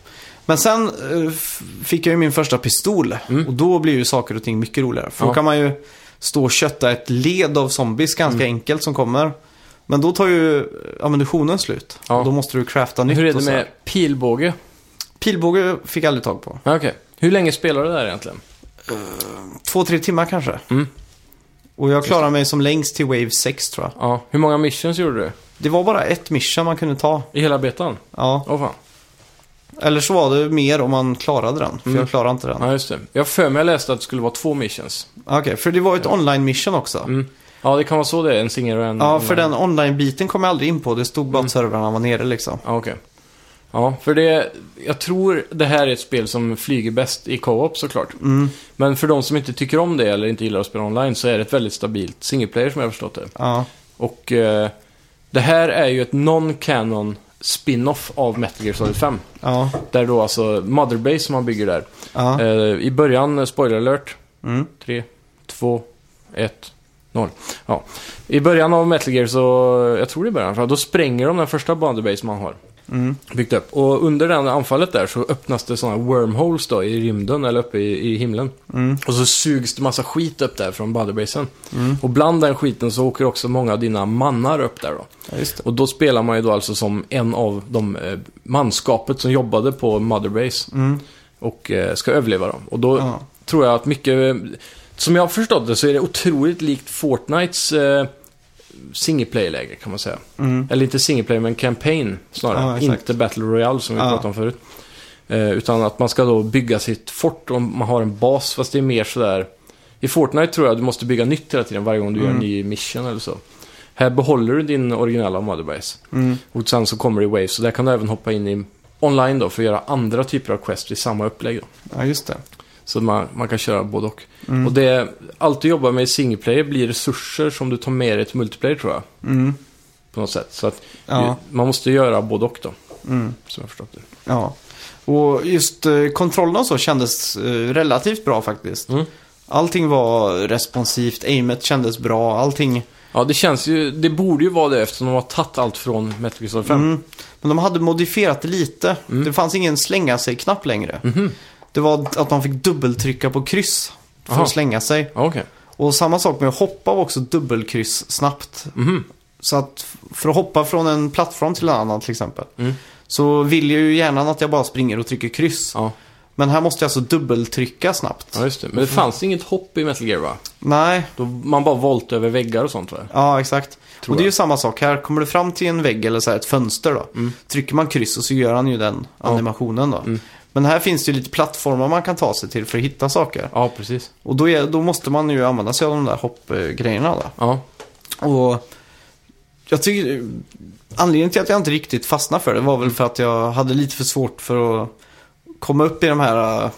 [SPEAKER 1] Men sen eh, f- fick jag ju min första pistol. Och då blir ju saker och ting mycket roligare. För då
[SPEAKER 2] Mm. Ja.
[SPEAKER 1] kan man ju stå och kötta ett led av zombies ganska
[SPEAKER 2] Mm.
[SPEAKER 1] enkelt som kommer. Men då tar ju ammunitionen slut.
[SPEAKER 2] Ja.
[SPEAKER 1] Och då måste du crafta nytt
[SPEAKER 2] Hur är
[SPEAKER 1] och
[SPEAKER 2] det
[SPEAKER 1] så här.
[SPEAKER 2] med pilbåge?
[SPEAKER 1] Pilbåge fick jag aldrig tag på.
[SPEAKER 2] Ja, Okej. Hur länge spelar du där egentligen?
[SPEAKER 1] Två, tre timmar kanske.
[SPEAKER 2] Mm.
[SPEAKER 1] Och jag klarade mig som längst till Wave 6 tror jag.
[SPEAKER 2] Ja. Hur många missions gjorde du?
[SPEAKER 1] Det var bara ett mission man kunde ta.
[SPEAKER 2] I hela betan?
[SPEAKER 1] Ja.
[SPEAKER 2] Åh fan.
[SPEAKER 1] Eller så var det mer om man klarade den. För
[SPEAKER 2] Mm.
[SPEAKER 1] jag klarade inte den. Ah,
[SPEAKER 2] Ja, just det. Jag har för mig jag läste att det skulle vara två missions.
[SPEAKER 1] Okej, för det var ju ett online mission också.
[SPEAKER 2] Mm. Ja, det kan vara så det är. En singel och en...
[SPEAKER 1] Ja, för den online-biten kom jag aldrig in på. Det stod
[SPEAKER 2] Mm.
[SPEAKER 1] bara att servrarna var nere liksom.
[SPEAKER 2] Ja, okej. Ja, för det... Jag tror det här är ett spel som flyger bäst i co-op såklart.
[SPEAKER 1] Mm.
[SPEAKER 2] Men för de som inte tycker om det eller inte gillar att spela online så är det ett väldigt stabilt single player som jag har förstått det.
[SPEAKER 1] Ja.
[SPEAKER 2] Och eh, det här är ju ett non-canon spin-off av Metal Gear Solid 5.
[SPEAKER 1] Ja.
[SPEAKER 2] Där då alltså Motherbase som man bygger där.
[SPEAKER 1] Ja.
[SPEAKER 2] Eh, I början, eh, spoiler alert,
[SPEAKER 1] Mm.
[SPEAKER 2] 3, 2, 1, 0. Ja. I början av Metal Gear så, jag tror det är början, för då spränger de den första Motherbase man har
[SPEAKER 1] Mm.
[SPEAKER 2] byggt upp. Och under den anfallet där så öppnas det sådana wormholes då i rymden eller uppe i, i himlen.
[SPEAKER 1] Mm.
[SPEAKER 2] Och så sugs det massa skit upp där från Motherbasen. Och bland den skiten så åker också många av dina mannar upp där då.
[SPEAKER 1] Ja, just det.
[SPEAKER 2] Och då spelar man ju då alltså som en av de eh, manskapet som jobbade på Motherbase.
[SPEAKER 1] Mm.
[SPEAKER 2] Och eh, ska överleva dem. Och då
[SPEAKER 1] Ja.
[SPEAKER 2] tror jag att mycket... eh, Som jag har förstått det så är det otroligt likt Fortnites eh, singleplay-läge kan man säga.
[SPEAKER 1] Mm.
[SPEAKER 2] Eller inte singleplayer men campaign snarare.
[SPEAKER 1] Ja, exakt.
[SPEAKER 2] inte Battle Royale som vi
[SPEAKER 1] Ja.
[SPEAKER 2] pratade om förut. Eh, utan att man ska då bygga sitt fort om man har en bas. Fast det är mer sådär... I Fortnite tror jag du måste bygga nytt hela tiden varje gång du gör en
[SPEAKER 1] Mm.
[SPEAKER 2] ny mission eller så. Här behåller du din originella motherbase.
[SPEAKER 1] Mm.
[SPEAKER 2] Och sen så kommer det i Waves. Så där kan du även hoppa in i online då för att göra andra typer av quest i samma upplägg. Då.
[SPEAKER 1] ja, just det.
[SPEAKER 2] Så man, man kan köra både och.
[SPEAKER 1] Mm.
[SPEAKER 2] Och det, allt du jobbar med i single player blir resurser som du tar med dig till multiplayer tror jag.
[SPEAKER 1] Mm.
[SPEAKER 2] På något sätt. Så att
[SPEAKER 1] Ja.
[SPEAKER 2] man måste göra både och då.
[SPEAKER 1] Mm.
[SPEAKER 2] Som jag har förstått det.
[SPEAKER 1] Ja. Och just eh, kontrollen och så kändes eh, relativt bra faktiskt.
[SPEAKER 2] Mm.
[SPEAKER 1] Allting var responsivt, aimet kändes bra, allting.
[SPEAKER 2] Ja, det känns ju... Det borde ju vara det eftersom de har tagit allt från Metal Gear Solid 5.
[SPEAKER 1] Mm. Men de hade modifierat det lite.
[SPEAKER 2] Mm.
[SPEAKER 1] Det fanns ingen slänga sig-knapp längre.
[SPEAKER 2] Mhm.
[SPEAKER 1] Det var att man fick dubbeltrycka på kryss för
[SPEAKER 2] Aha.
[SPEAKER 1] att slänga sig.
[SPEAKER 2] Ja, Okej.
[SPEAKER 1] Och samma sak med att hoppa var också dubbelkryss snabbt.
[SPEAKER 2] Mhm.
[SPEAKER 1] Så att f- för att hoppa från en plattform till en annan till exempel.
[SPEAKER 2] Mm.
[SPEAKER 1] Så vill ju hjärnan att jag bara springer och trycker kryss.
[SPEAKER 2] Ja.
[SPEAKER 1] Men här måste jag alltså dubbeltrycka snabbt.
[SPEAKER 2] ja, just det.
[SPEAKER 1] Mm.
[SPEAKER 2] Men det fanns inget hopp i Metal Gear va?
[SPEAKER 1] Nej,
[SPEAKER 2] Då man bara volt över väggar och sånt va?
[SPEAKER 1] ja exakt.
[SPEAKER 2] Tror
[SPEAKER 1] och det är
[SPEAKER 2] jag. Mm.
[SPEAKER 1] ju samma sak här. Kommer du fram till en vägg eller så här ett fönster då. Trycker man kryss och så gör han ju den animationen då. Men här finns det ju lite plattformar man kan ta sig till för att hitta saker.
[SPEAKER 2] Ja, precis.
[SPEAKER 1] Och då, är, då måste man ju använda sig av de där hoppgrejerna då.
[SPEAKER 2] Ja.
[SPEAKER 1] Och jag tycker... Anledningen till att jag inte riktigt fastnade för det var väl för att jag hade lite för svårt för att komma upp i de här... eh,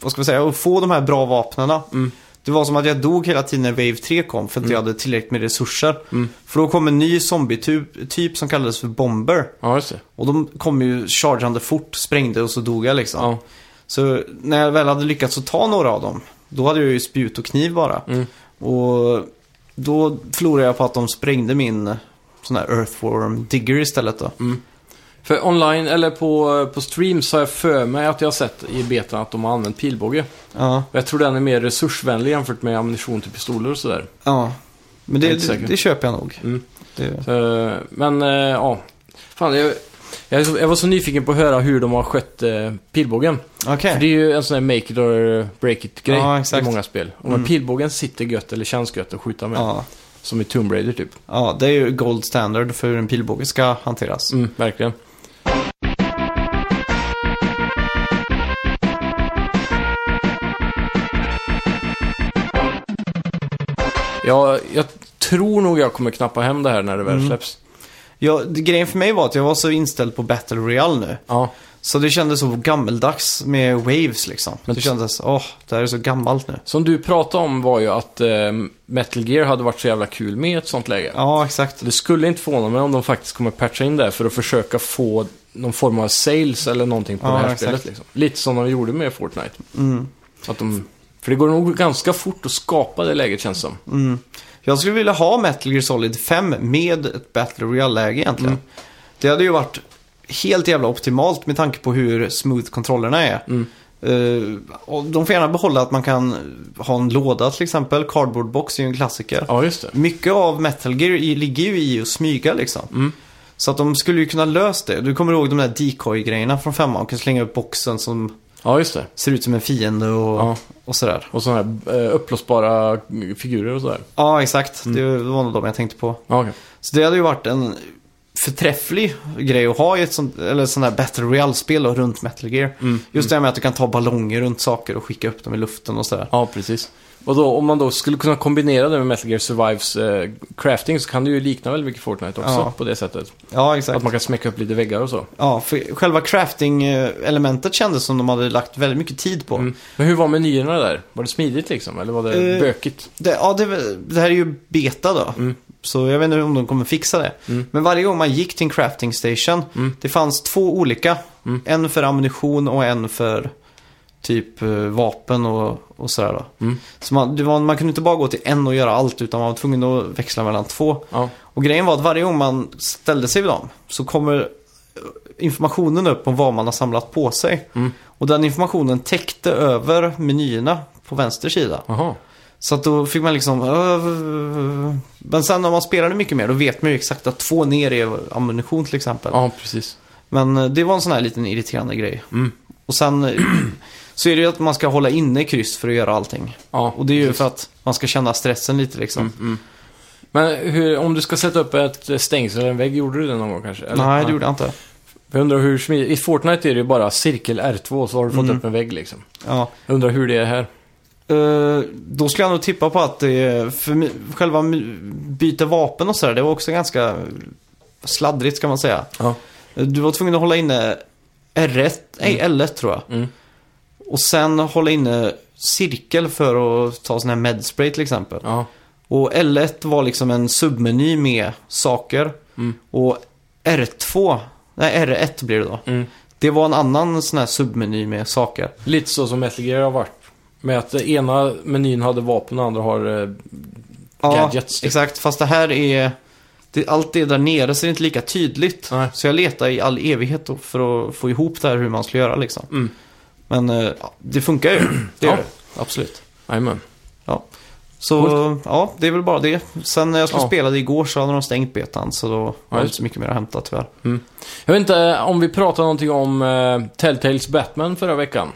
[SPEAKER 1] Vad ska man säga? Och få de här bra vapnena.
[SPEAKER 2] Mm.
[SPEAKER 1] Det var som att jag dog hela tiden när Wave 3 kom för att jag hade tillräckligt med resurser.
[SPEAKER 2] Mm.
[SPEAKER 1] För då kom en ny zombie-typ typ som kallades för Bomber.
[SPEAKER 2] Ja, just det.
[SPEAKER 1] Och de kom ju chargeande fort, sprängde och så dog jag liksom.
[SPEAKER 2] Ja.
[SPEAKER 1] Så när jag väl hade lyckats att ta några av dem, då hade jag ju spjut och kniv bara.
[SPEAKER 2] Mm.
[SPEAKER 1] Och då förlorade jag på att de sprängde min sån här Earthworm Digger istället då.
[SPEAKER 2] För online, eller på, på streams har jag för mig att jag har sett i betan att de har använt pilbåge.
[SPEAKER 1] Ja,
[SPEAKER 2] Och jag tror den är mer resursvänlig jämfört med ammunition till pistoler och sådär.
[SPEAKER 1] ja. Men
[SPEAKER 2] Jag är
[SPEAKER 1] det,
[SPEAKER 2] inte
[SPEAKER 1] det,
[SPEAKER 2] säker.
[SPEAKER 1] det köper jag nog.
[SPEAKER 2] Mm.
[SPEAKER 1] Det,
[SPEAKER 2] Eh, men eh, ja, fan jag, jag, är så- jag var så nyfiken på att höra hur de har skött eh, pilbågen.
[SPEAKER 1] Okej.
[SPEAKER 2] För det är ju en sån här make it or break it-grej
[SPEAKER 1] Ja, exakt.
[SPEAKER 2] i många spel. Om
[SPEAKER 1] Mm.
[SPEAKER 2] pilbågen sitter gött eller känns gött att skjuta med.
[SPEAKER 1] Ja.
[SPEAKER 2] Som i Tomb Raider typ.
[SPEAKER 1] ja, det är ju gold standard för hur en pilbåge ska hanteras.
[SPEAKER 2] Mm, verkligen. Ja, jag tror nog jag kommer knappa hem det här när det väl släpps.
[SPEAKER 1] Ja, det, grejen för mig var att jag var så inställd på Battle Royale nu.
[SPEAKER 2] Ja,
[SPEAKER 1] Så det kändes så gammeldags med waves liksom.
[SPEAKER 2] Men
[SPEAKER 1] det
[SPEAKER 2] t-
[SPEAKER 1] kändes, åh, det här är så gammalt nu.
[SPEAKER 2] som du pratade om var ju att eh, Metal Gear hade varit så jävla kul med ett sånt läge.
[SPEAKER 1] Ja, exakt.
[SPEAKER 2] Det skulle inte förvåna mig om de faktiskt kommer patcha in det för att försöka få någon form av sales eller någonting på
[SPEAKER 1] Ja,
[SPEAKER 2] det här
[SPEAKER 1] exakt.
[SPEAKER 2] spelet. Liksom. Lite som de gjorde med Fortnite.
[SPEAKER 1] Mm.
[SPEAKER 2] Att de, för det går nog ganska fort att skapa det läget känns som.
[SPEAKER 1] Mm. Jag skulle vilja ha Metal Gear Solid 5 med ett Battle Royale-läge egentligen.
[SPEAKER 2] Mm.
[SPEAKER 1] Det hade ju varit helt jävla optimalt med tanke på hur smooth kontrollerna är.
[SPEAKER 2] Mm.
[SPEAKER 1] Eh, och de får gärna behålla att man kan ha en låda till exempel. Cardboard box är ju en klassiker.
[SPEAKER 2] Ja, just det.
[SPEAKER 1] Mycket av Metal Gear i- ligger ju i att smyga liksom.
[SPEAKER 2] Mm.
[SPEAKER 1] Så att de skulle ju kunna löst det. Du kommer ihåg de där decoy-grejerna från femman. Kan slänga upp boxen som
[SPEAKER 2] Ja, just det.
[SPEAKER 1] ser ut som en fiende och,
[SPEAKER 2] Ja.
[SPEAKER 1] och sådär.
[SPEAKER 2] Och sådana här eh, uppblåsbara figurer och sådär.
[SPEAKER 1] Ja, exakt.
[SPEAKER 2] Mm.
[SPEAKER 1] Det var nog de jag tänkte på.
[SPEAKER 2] Ja, okej.
[SPEAKER 1] Så det hade ju varit en förträfflig grej att ha i ett sånt, eller sånt där Battle Royale-spel och runt Metal Gear. Just det här med att du kan ta ballonger runt saker och skicka upp dem i luften och sådär.
[SPEAKER 2] Ja, precis. Och då, om man då skulle kunna kombinera det med Metal Gear Survives eh, crafting så kan det ju likna väldigt mycket Fortnite också
[SPEAKER 1] Ja.
[SPEAKER 2] på det sättet.
[SPEAKER 1] Ja, exakt.
[SPEAKER 2] Att man kan smäcka upp lite väggar och så.
[SPEAKER 1] Ja, för själva crafting-elementet kändes som de hade lagt väldigt mycket tid på.
[SPEAKER 2] Mm. Men hur var menyerna där? Var det smidigt liksom? Eller var det
[SPEAKER 1] Eh,
[SPEAKER 2] bökigt?
[SPEAKER 1] Det, ja, det, är väl- det här är ju beta då.
[SPEAKER 2] Mm.
[SPEAKER 1] Så jag vet inte om de kommer fixa det.
[SPEAKER 2] Mm.
[SPEAKER 1] Men varje gång man gick till en crafting station,
[SPEAKER 2] Mm.
[SPEAKER 1] det fanns två olika.
[SPEAKER 2] Mm.
[SPEAKER 1] En för ammunition och en för typ eh, vapen och, och sådär då.
[SPEAKER 2] Mm.
[SPEAKER 1] Så man, det var, man kunde inte bara gå till en och göra allt utan man var tvungen att växla mellan två.
[SPEAKER 2] Ja.
[SPEAKER 1] Och grejen var att varje gång man ställde sig vid dem så kommer eh, informationen upp om vad man har samlat på sig.
[SPEAKER 2] Mm.
[SPEAKER 1] Och den informationen täckte över menyerna på vänster sida.
[SPEAKER 2] Aha.
[SPEAKER 1] Så att då fick man liksom... "Öh." Men sen när man spelade mycket mer då vet man ju exakt att två ner är ammunition till exempel.
[SPEAKER 2] Ja, precis.
[SPEAKER 1] Men eh, det var en sån här liten irriterande grej.
[SPEAKER 2] Mm.
[SPEAKER 1] Och sen eh, så är det ju att man ska hålla inne kryss för att göra allting.
[SPEAKER 2] Ja.
[SPEAKER 1] Och det är ju för att man ska känna stressen lite liksom.
[SPEAKER 2] Mm, Men hur, om du ska sätta upp ett stängsel eller en vägg, gjorde du det någon gång kanske? Eller?
[SPEAKER 1] Nej, det gjorde jag inte.
[SPEAKER 2] Jag undrar hur smidigt... I Fortnite är det ju bara cirkel R2 och så har du fått
[SPEAKER 1] Mm.
[SPEAKER 2] upp en vägg liksom.
[SPEAKER 1] Ja.
[SPEAKER 2] Jag undrar hur det är här.
[SPEAKER 1] Eh, då skulle jag nog tippa på att det är, för mi- själva mi- byta vapen och sådär, det var också ganska sladdrigt ska man säga.
[SPEAKER 2] Ja.
[SPEAKER 1] Du var tvungen att hålla inne R1, nej L1 tror jag.
[SPEAKER 2] Mm.
[SPEAKER 1] Och sen hålla inne cirkel för att ta sån här medspray till exempel.
[SPEAKER 2] Ja.
[SPEAKER 1] Och L1 var liksom en submeny med saker.
[SPEAKER 2] Mm.
[SPEAKER 1] Och R2, nej R1 blir det då.
[SPEAKER 2] Mm.
[SPEAKER 1] Det var en annan sån här submeny med saker.
[SPEAKER 2] Lite så som Metal Gear har varit. Med att det ena menyn hade vapen och andra har... eh, Gadgets, typ.
[SPEAKER 1] exakt. Fast det här är... Det, allt det där nere så det är inte lika tydligt.
[SPEAKER 2] Nej.
[SPEAKER 1] Så jag letade i all evighet då för att få ihop det här hur man skulle göra liksom.
[SPEAKER 2] Mm.
[SPEAKER 1] Men eh, ja, det funkar ju. Det gör
[SPEAKER 2] Ja.
[SPEAKER 1] det. Absolut.
[SPEAKER 2] Jajamän.
[SPEAKER 1] Ja. Så ja, det är väl bara det. Sen när jag skulle
[SPEAKER 2] Ja.
[SPEAKER 1] spela det igår så hade de stängt betan så då var det
[SPEAKER 2] just
[SPEAKER 1] inte så mycket mer att hämta tyvärr.
[SPEAKER 2] Jag vet inte eh, om vi pratade någonting om eh, Telltales Batman förra veckan.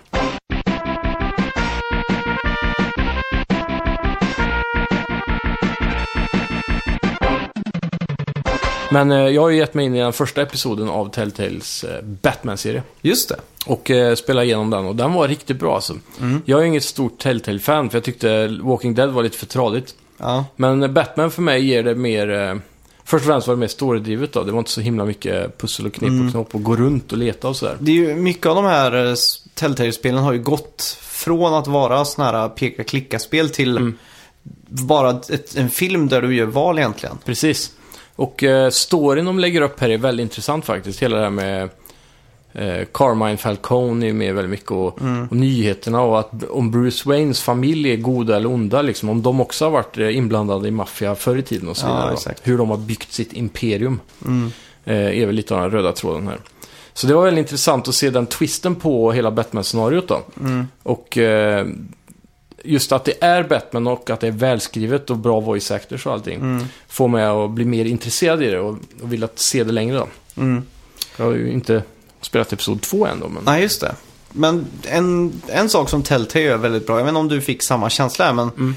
[SPEAKER 2] Men eh, jag har ju gett mig in i den första episoden av Telltales eh, Batman-serie.
[SPEAKER 1] Just det.
[SPEAKER 2] Och eh, spelade igenom den och den var riktigt bra alltså. Jag är inget stort Telltale-fan för jag tyckte Walking Dead var lite för tradigt.
[SPEAKER 1] Ja,
[SPEAKER 2] Men Batman för mig ger det mer... eh, Först och främst var det mer storydrivet då. Det var inte så himla mycket pussel och knep och knopp och gå runt och leta och sådär.
[SPEAKER 1] det är ju mycket av de här eh, s- Telltale-spelen har ju gått från att vara sådana här eh, peka-klicka-spel till
[SPEAKER 2] Mm.
[SPEAKER 1] bara ett, en film där du gör val egentligen.
[SPEAKER 2] Precis. Och eh, storyn de lägger upp här är väldigt intressant faktiskt. Hela det här med eh, Carmine Falcone är med väldigt mycket och,
[SPEAKER 1] Mm.
[SPEAKER 2] och nyheterna och att om Bruce Waynes familj är goda eller onda liksom. Om de också har varit eh, inblandade i maffia förr i tiden och så
[SPEAKER 1] Ja,
[SPEAKER 2] vidare. då.
[SPEAKER 1] exakt. Mm.
[SPEAKER 2] Hur de har byggt sitt imperium. Eh, är väl lite av den röda tråden här. Så det var väldigt intressant att se den twisten på hela Batman-scenariot då. Och eh, just att det är Batman och att det är välskrivet och bra voice actors och allting.
[SPEAKER 1] Mm.
[SPEAKER 2] Får mig att bli mer intresserad i det och, och vill att se det längre då.
[SPEAKER 1] Mm.
[SPEAKER 2] Jag har ju inte spelat episod 2 än då, men...
[SPEAKER 1] Nej, just det. Men en, en sak som Telltale gör väldigt bra, jag vet inte om du fick samma känsla här, men
[SPEAKER 2] Mm.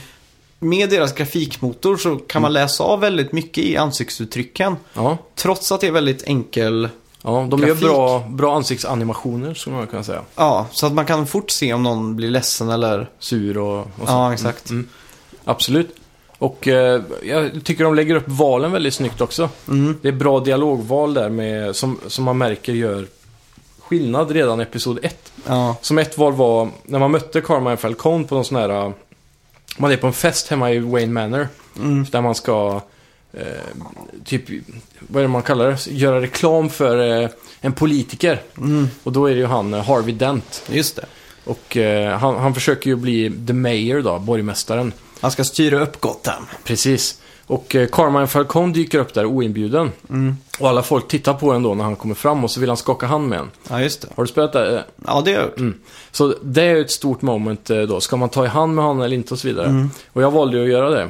[SPEAKER 1] med deras grafikmotor så kan man läsa av väldigt mycket i ansiktsuttrycken.
[SPEAKER 2] Ja,
[SPEAKER 1] Trots att det är väldigt enkel,
[SPEAKER 2] ja de
[SPEAKER 1] Grafik.
[SPEAKER 2] gör bra, bra ansiktsanimationer skulle man kunna säga.
[SPEAKER 1] ja, så att man kan fort se om någon blir ledsen eller...
[SPEAKER 2] Sur och, och så.
[SPEAKER 1] Ja, exakt.
[SPEAKER 2] Mm. Absolut. Och eh, jag tycker de lägger upp valen väldigt snyggt också.
[SPEAKER 1] Mm.
[SPEAKER 2] Det är bra dialogval där med, som, som man märker gör skillnad redan i episod 1.
[SPEAKER 1] Ja,
[SPEAKER 2] Som ett val var när man mötte Carmine Falcone på någon sån här... eh, Man är på en fest hemma i Wayne Manor.
[SPEAKER 1] mm.
[SPEAKER 2] Där man ska... Eh, typ, vad är det man kallar det? Göra reklam för eh, en politiker.
[SPEAKER 1] Mm.
[SPEAKER 2] Och då är det ju han eh, Harvey Dent.
[SPEAKER 1] just det.
[SPEAKER 2] Och eh, han, han försöker ju bli the mayor då, borgmästaren.
[SPEAKER 1] Man ska styra upp Gotham.
[SPEAKER 2] Precis. Och eh, Carmine Falcone dyker upp där oinbjuden.
[SPEAKER 1] Mm.
[SPEAKER 2] Och alla folk tittar på en då när han kommer fram och så vill han skaka hand med en.
[SPEAKER 1] Ja, just det.
[SPEAKER 2] Har du spelat det? Eh,
[SPEAKER 1] Ja, det är
[SPEAKER 2] Mm. Så det är ju ett stort moment eh, då. Ska man ta i hand med honom eller inte och så vidare.
[SPEAKER 1] Mm.
[SPEAKER 2] Och jag valde ju att göra det.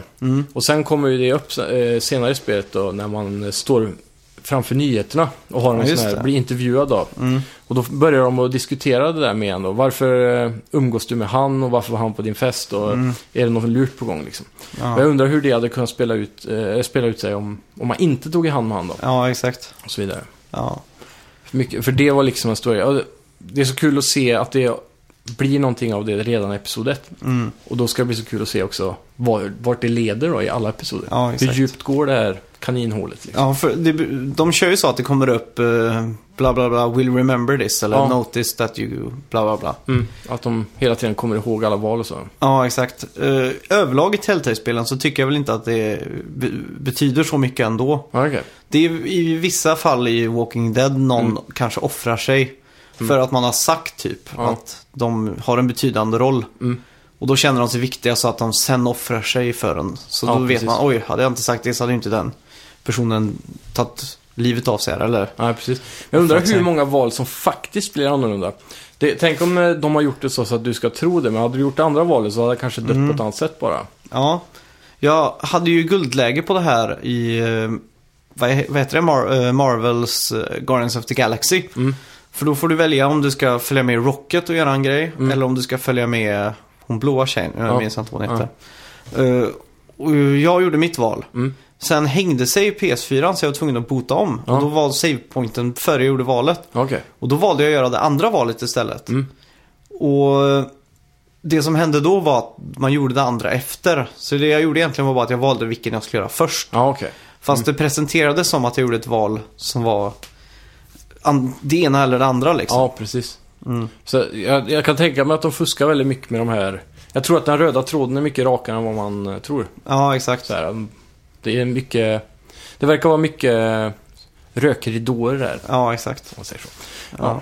[SPEAKER 2] Och sen kommer ju det upp eh, senare i spelet då när man eh, står framför nyheterna och har
[SPEAKER 1] Ja,
[SPEAKER 2] en
[SPEAKER 1] just
[SPEAKER 2] sån här,
[SPEAKER 1] det. Mm.
[SPEAKER 2] blir intervjuad av. Och då börjar de att diskutera det där med en då. Varför eh, umgås du med han och varför var han på din fest och är det något lurt på gång liksom. Och jag
[SPEAKER 1] Mm. Ja,
[SPEAKER 2] undrar hur det hade kunnat spela ut, eh, spela ut sig om, om man inte tog i hand med han då.
[SPEAKER 1] ja exakt.
[SPEAKER 2] Och så vidare.
[SPEAKER 1] Ja.
[SPEAKER 2] För, mycket, för det var liksom en story. Och det- Det är så kul att se att det blir någonting av det redan i episod 1.
[SPEAKER 1] Mm.
[SPEAKER 2] Och då ska det bli så kul att se också var, vart det leder då i alla episoder.
[SPEAKER 1] Ja,
[SPEAKER 2] Hur
[SPEAKER 1] exakt.
[SPEAKER 2] djupt går det här kaninhålet liksom?
[SPEAKER 1] Ja, för det, de kör ju så att det kommer upp eh, bla bla bla, will remember this eller
[SPEAKER 2] Ja.
[SPEAKER 1] notice that you bla bla bla.
[SPEAKER 2] Mm. Att de hela tiden kommer ihåg alla val och så.
[SPEAKER 1] Ja, exakt. Eh, överlag i Telltale-spelen så tycker jag väl inte att det be betyder så mycket ändå.
[SPEAKER 2] Ja, okej.
[SPEAKER 1] Det är ju i vissa fall i Walking Dead någon
[SPEAKER 2] Mm.
[SPEAKER 1] kanske offrar sig för att man har sagt typ
[SPEAKER 2] Ja.
[SPEAKER 1] att de har en betydande roll.
[SPEAKER 2] Mm.
[SPEAKER 1] Och då känner de sig viktiga så att de sen offrar sig för en. Så
[SPEAKER 2] Ja,
[SPEAKER 1] då vet
[SPEAKER 2] precis.
[SPEAKER 1] man, oj, hade jag inte sagt det så hade ju inte den personen tagit livet av sig här, eller?
[SPEAKER 2] Nej, precis. Jag undrar
[SPEAKER 1] Exakt.
[SPEAKER 2] hur många val som faktiskt blir annorlunda. Det, tänk om eh, de har gjort det så, så att du ska tro det, men hade du gjort det andra valet så hade jag kanske dött
[SPEAKER 1] Mm.
[SPEAKER 2] på ett annat sätt bara.
[SPEAKER 1] Ja, jag hade ju guldläge på det här i, eh, vad he- vad heter det, Mar- eh, Marvels eh, Guardians of the Galaxy.
[SPEAKER 2] Mm.
[SPEAKER 1] För då får du välja om du ska följa med Rocket och göra en grej
[SPEAKER 2] Mm.
[SPEAKER 1] eller om du ska följa med hon blåa tjejen, jag
[SPEAKER 2] Ja.
[SPEAKER 1] minns inte vad hon heter. Eh, och jag gjorde mitt val.
[SPEAKER 2] Mm.
[SPEAKER 1] Sen hängde sig PS4 så jag var tvungen att bota om.
[SPEAKER 2] Ja.
[SPEAKER 1] Och då var savepointen före jag gjorde valet.
[SPEAKER 2] Okej.
[SPEAKER 1] Och då valde jag att göra det andra valet istället.
[SPEAKER 2] Mm.
[SPEAKER 1] Och det som hände då var att man gjorde det andra efter. Så det jag gjorde egentligen var bara att jag valde vilken jag skulle göra först.
[SPEAKER 2] Ja, okej.
[SPEAKER 1] Fast
[SPEAKER 2] Mm.
[SPEAKER 1] det presenterades som att jag gjorde ett val som var an- det ena eller det andra liksom.
[SPEAKER 2] Ja, precis. Så jag, jag kan tänka mig att de fuskar väldigt mycket med de här. Jag tror att den röda tråden är mycket rakare än vad man eh, tror.
[SPEAKER 1] Ja, exakt.
[SPEAKER 2] Så här, Mm, det är mycket... Det verkar våra mycket eh, rökridåer där. om
[SPEAKER 1] Ja, exakt.
[SPEAKER 2] Man säger så.
[SPEAKER 1] Ja.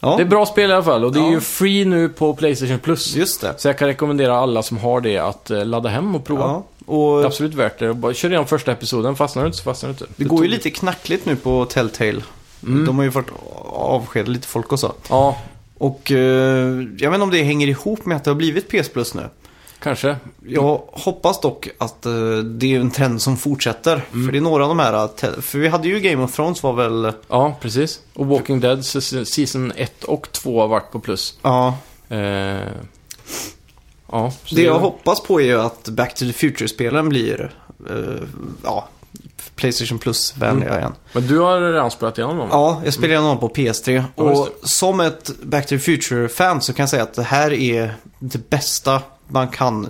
[SPEAKER 1] Ja,
[SPEAKER 2] Det är bra spel i alla fall och det är
[SPEAKER 1] Ja.
[SPEAKER 2] ju free nu på Playstation Plus.
[SPEAKER 1] just det.
[SPEAKER 2] Så jag kan rekommendera alla som har det att eh, ladda hem och prova.
[SPEAKER 1] Ja.
[SPEAKER 2] Det är
[SPEAKER 1] Och
[SPEAKER 2] absolut värt det. Och Bara, kör igenom första episoden. Fastnar du inte så fastnar du inte.
[SPEAKER 1] det går ju lite knackligt nu på Telltale.
[SPEAKER 2] Mm.
[SPEAKER 1] De har ju fått avskeda lite folk och så.
[SPEAKER 2] Ja,
[SPEAKER 1] Och eh, jag vet inte om det hänger ihop med att det har blivit PS Plus nu.
[SPEAKER 2] kanske.
[SPEAKER 1] Jag hoppas dock att eh, det är en trend som fortsätter. För det är några av de här, eh, te- för vi hade ju Game of Thrones var väl, eh,
[SPEAKER 2] Ja, precis. Och Walking Dead säs- Season 1 och 2 har varit på plus.
[SPEAKER 1] ja.
[SPEAKER 2] Eh, ja, så
[SPEAKER 1] Det jag hoppas på är ju att Back to the Future-spelen blir, eh, ja, Playstation Plus-vänliga igen.
[SPEAKER 2] Men du har redan spelat igenom dem?
[SPEAKER 1] Ja, jag spelar igenom dem på PS3.
[SPEAKER 2] Ja, just
[SPEAKER 1] Och som ett Back to the Future-fan så kan jag säga att det här är det bästa man kan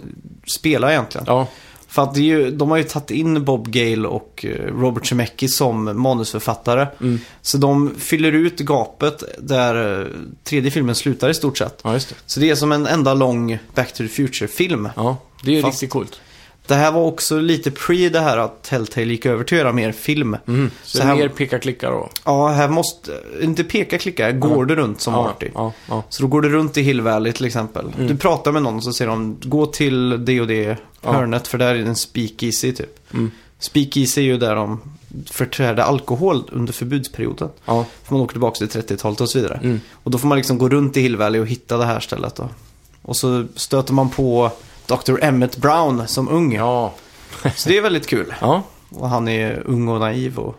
[SPEAKER 1] spela egentligen.
[SPEAKER 2] Ja,
[SPEAKER 1] För att det är ju, de har ju tagit in Bob Gale och eh, Robert Zemeckis som manusförfattare.
[SPEAKER 2] mm.
[SPEAKER 1] Så de fyller ut gapet där eh, tredje filmen slutar i stort sett.
[SPEAKER 2] ja just det.
[SPEAKER 1] Så det är som en enda lång Back to the Future-film.
[SPEAKER 2] Ja, det är ju
[SPEAKER 1] Fast-
[SPEAKER 2] riktigt coolt.
[SPEAKER 1] Det här var också lite pre det här att Telltale gick över till att göra mer film.
[SPEAKER 2] Mm. Så,
[SPEAKER 1] Så
[SPEAKER 2] det är
[SPEAKER 1] här-
[SPEAKER 2] mer picka-klicka då?
[SPEAKER 1] Ja, här måste, inte peka klicka, här går du runt som
[SPEAKER 2] ja,
[SPEAKER 1] Marty.
[SPEAKER 2] ja, ja,
[SPEAKER 1] Så då går du runt i Hill Valley till exempel.
[SPEAKER 2] Mm.
[SPEAKER 1] Du pratar med någon så säger de gå till det och det
[SPEAKER 2] Ja.
[SPEAKER 1] hörnet för där är det en speakeasy typ.
[SPEAKER 2] Mm.
[SPEAKER 1] Speakeasy är ju där de förtärde alkohol under förbudsperioden.
[SPEAKER 2] ja.
[SPEAKER 1] För man åker tillbaka till 30-talet och så vidare.
[SPEAKER 2] Mm.
[SPEAKER 1] Och då får man liksom gå runt i Hill Valley och hitta det här stället då. Och så stöter man på Dr. Emmett Brown som ung.
[SPEAKER 2] Ja,
[SPEAKER 1] Så det är väldigt kul.
[SPEAKER 2] ja
[SPEAKER 1] Och han är ung och naiv och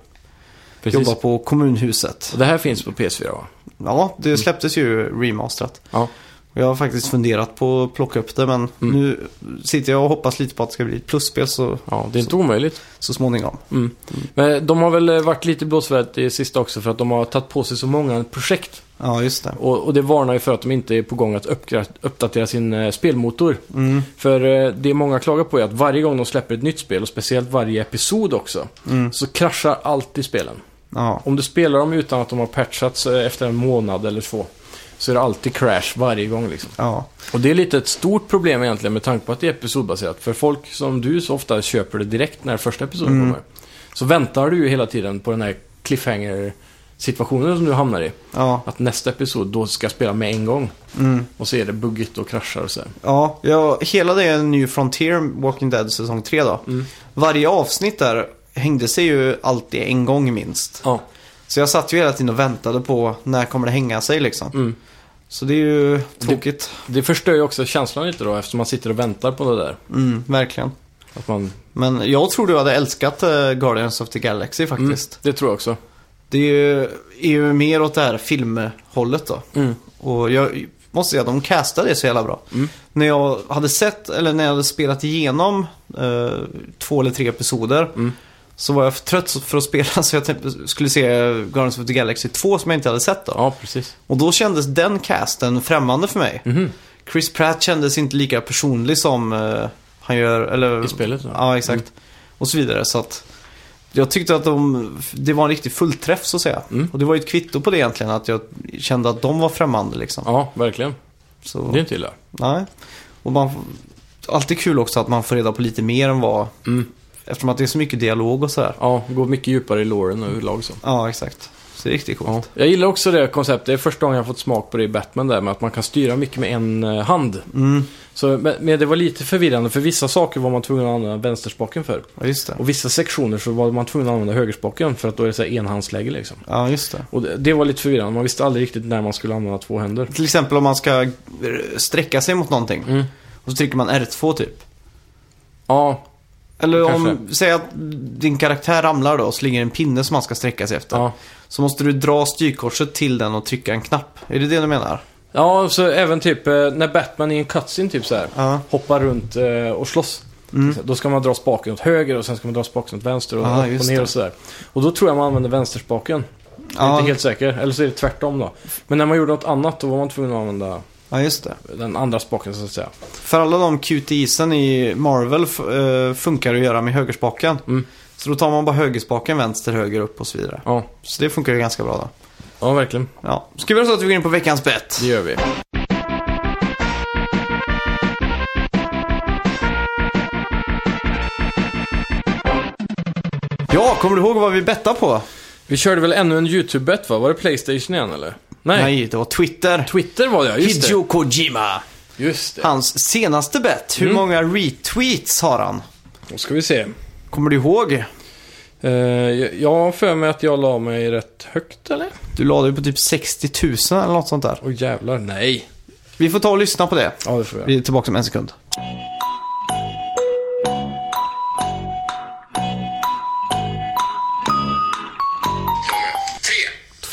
[SPEAKER 2] precis.
[SPEAKER 1] jobbar på kommunhuset.
[SPEAKER 2] Och det här finns på PS4 va?
[SPEAKER 1] Ja,
[SPEAKER 2] Mm.
[SPEAKER 1] det släpptes ju remasterat.
[SPEAKER 2] Ja.
[SPEAKER 1] Och Jag har faktiskt funderat på att plocka upp det men
[SPEAKER 2] Mm.
[SPEAKER 1] nu sitter jag och hoppas lite på att det ska bli ett plusspel så,
[SPEAKER 2] Ja, det är inte omöjligt.
[SPEAKER 1] så småningom.
[SPEAKER 2] Mm. Men de har väl eh, varit lite blåsvärt i sista också för att de har tagit på sig så många projekt.
[SPEAKER 1] Ja, just det.
[SPEAKER 2] Och, och det varnar ju för att de inte är på gång att uppgra- uppdatera sin eh, spelmotor.
[SPEAKER 1] Mm.
[SPEAKER 2] För eh, det många klagar på är att varje gång de släpper ett nytt spel och speciellt varje episod också
[SPEAKER 1] Mm.
[SPEAKER 2] så kraschar alltid spelen.
[SPEAKER 1] Ja,
[SPEAKER 2] Om du spelar dem utan att de har patchats eh, efter en månad eller två så är det alltid crash varje gång liksom.
[SPEAKER 1] ja.
[SPEAKER 2] Och det är lite ett stort problem egentligen med tanke på att det är episodbaserat. För folk som du så ofta
[SPEAKER 1] Mm.
[SPEAKER 2] köper det direkt när första episoden kommer. Så väntar du ju hela tiden på den här cliffhanger situationen som du hamnar i.
[SPEAKER 1] Ja,
[SPEAKER 2] Att nästa episod, då ska jag spela med en gång.
[SPEAKER 1] mm.
[SPEAKER 2] Och så är det buggigt och kraschar och så. här.
[SPEAKER 1] ja, ja, hela det är New Frontier, Walking Dead säsong 3 då.
[SPEAKER 2] Mm.
[SPEAKER 1] Varje avsnitt där hängde sig ju alltid en gång minst.
[SPEAKER 2] Ja.
[SPEAKER 1] Så jag satt ju hela tiden och väntade på när kommer det hänga sig liksom.
[SPEAKER 2] Mm.
[SPEAKER 1] Så det är ju tråkigt.
[SPEAKER 2] Det förstör ju också känslan lite då eftersom man sitter och väntar på det där.
[SPEAKER 1] Mm, verkligen.
[SPEAKER 2] Att man,
[SPEAKER 1] Men jag tror du hade älskat eh, Guardians of the Galaxy faktiskt.
[SPEAKER 2] Mm. det tror jag också.
[SPEAKER 1] Det är ju, är ju mer åt det här filmhållet då.
[SPEAKER 2] Mm.
[SPEAKER 1] Och jag måste säga att de castade det så jävla bra.
[SPEAKER 2] Mm.
[SPEAKER 1] När jag hade sett, eller när jag hade spelat igenom eh, två eller tre episoder.
[SPEAKER 2] Mm.
[SPEAKER 1] Så var jag för trött för att spela så jag tänkte, skulle se Guardians of the Galaxy 2 som jag inte hade sett då.
[SPEAKER 2] Ja, precis.
[SPEAKER 1] Och då kändes den casten främmande för mig.
[SPEAKER 2] Mhm.
[SPEAKER 1] Chris Pratt kändes inte lika personlig som eh, han gör, eller...
[SPEAKER 2] I spelet, ja. Mm.
[SPEAKER 1] Ja, exakt. Och så vidare, så att... Jag tyckte att de, det var en riktig fullträff så att säga.
[SPEAKER 2] Mm.
[SPEAKER 1] Och det var ju ett kvitto på det egentligen, att jag kände att de var främmande liksom.
[SPEAKER 2] Ja, verkligen.
[SPEAKER 1] Så,
[SPEAKER 2] Det är inte illa.
[SPEAKER 1] nej. Och man, får- alltid kul också att man får reda på lite mer än vad,
[SPEAKER 2] Mm.
[SPEAKER 1] eftersom att det är så mycket dialog och sådär.
[SPEAKER 2] Ja, går mycket djupare i låren överlag så.
[SPEAKER 1] Ja, exakt. Så det är riktigt
[SPEAKER 2] Ja.
[SPEAKER 1] coolt.
[SPEAKER 2] Jag gillar också det konceptet. Det är första gången jag har fått smak på det i Batman där med att man kan styra mycket med en eh, hand.
[SPEAKER 1] Mm,
[SPEAKER 2] Så, men men det var lite förvirrande för vissa saker var man tvungen att använda vänsterspaken för.
[SPEAKER 1] ja just det.
[SPEAKER 2] Och vissa sektioner så var man tvungen att använda högerspaken för att då är det så här enhandsläge liksom.
[SPEAKER 1] Ja, just det.
[SPEAKER 2] Och det, det var lite förvirrande. Man visste aldrig riktigt när man skulle använda två händer.
[SPEAKER 1] Till exempel om man ska eh, sträcka sig mot någonting.
[SPEAKER 2] Mm.
[SPEAKER 1] Och så trycker man R2 typ.
[SPEAKER 2] Ja,
[SPEAKER 1] Eller om,
[SPEAKER 2] Kanske.
[SPEAKER 1] säg att din karaktär ramlar då och så ligger en pinne som man ska sträcka sig efter.
[SPEAKER 2] ja.
[SPEAKER 1] Så måste du dra styrkorset till den och trycka en knapp. Är det det du menar?
[SPEAKER 2] Ja, så även typ eh, när Batman i en cutscene typ så här
[SPEAKER 1] Ja.
[SPEAKER 2] hoppar runt eh, och slåss.
[SPEAKER 1] Mm.
[SPEAKER 2] Då ska man dra spaken åt höger och sen ska man dra spaken åt vänster och
[SPEAKER 1] Ja,
[SPEAKER 2] upp och
[SPEAKER 1] just
[SPEAKER 2] ner
[SPEAKER 1] det.
[SPEAKER 2] och sådär. Och då tror jag man använder vänsterspaken. Jag är
[SPEAKER 1] Ja.
[SPEAKER 2] inte helt säker, eller så är det tvärtom då. Men när man gjorde något annat då var man tvungen att använda
[SPEAKER 1] Ja, just det.
[SPEAKER 2] den andra spaken så att säga.
[SPEAKER 1] För alla de QTIsen i Marvel f- eh, funkar att göra med högerspaken.
[SPEAKER 2] Mm.
[SPEAKER 1] Så då tar man bara högerspaken vänster, höger, upp och så vidare.
[SPEAKER 2] Ja,
[SPEAKER 1] Så det funkar ju ganska bra då.
[SPEAKER 2] ja verkligen.
[SPEAKER 1] Ja. Ska vi göra så att vi går in på veckans bett?
[SPEAKER 2] Det gör vi.
[SPEAKER 1] Ja, kommer du ihåg vad vi bettade på?
[SPEAKER 2] Vi körde väl ännu en YouTube-bet va? Var det Playstation igen eller? Nej,
[SPEAKER 1] Nej, det var Twitter.
[SPEAKER 2] Twitter var det ja, just
[SPEAKER 1] Hideo Kojima.
[SPEAKER 2] det. Just det.
[SPEAKER 1] Hans senaste bet, hur
[SPEAKER 2] Mm.
[SPEAKER 1] många retweets har han?
[SPEAKER 2] Då ska vi se.
[SPEAKER 1] Kommer du ihåg?
[SPEAKER 2] Eh, jag- jag har för mig att jag la mig rätt högt eller?
[SPEAKER 1] Du lade ju på typ 60 000 eller något sånt där.
[SPEAKER 2] Åh jävlar, nej.
[SPEAKER 1] Vi får ta och lyssna på det.
[SPEAKER 2] Ja, det får
[SPEAKER 1] Vi är tillbaka om en sekund.
[SPEAKER 3] Tre,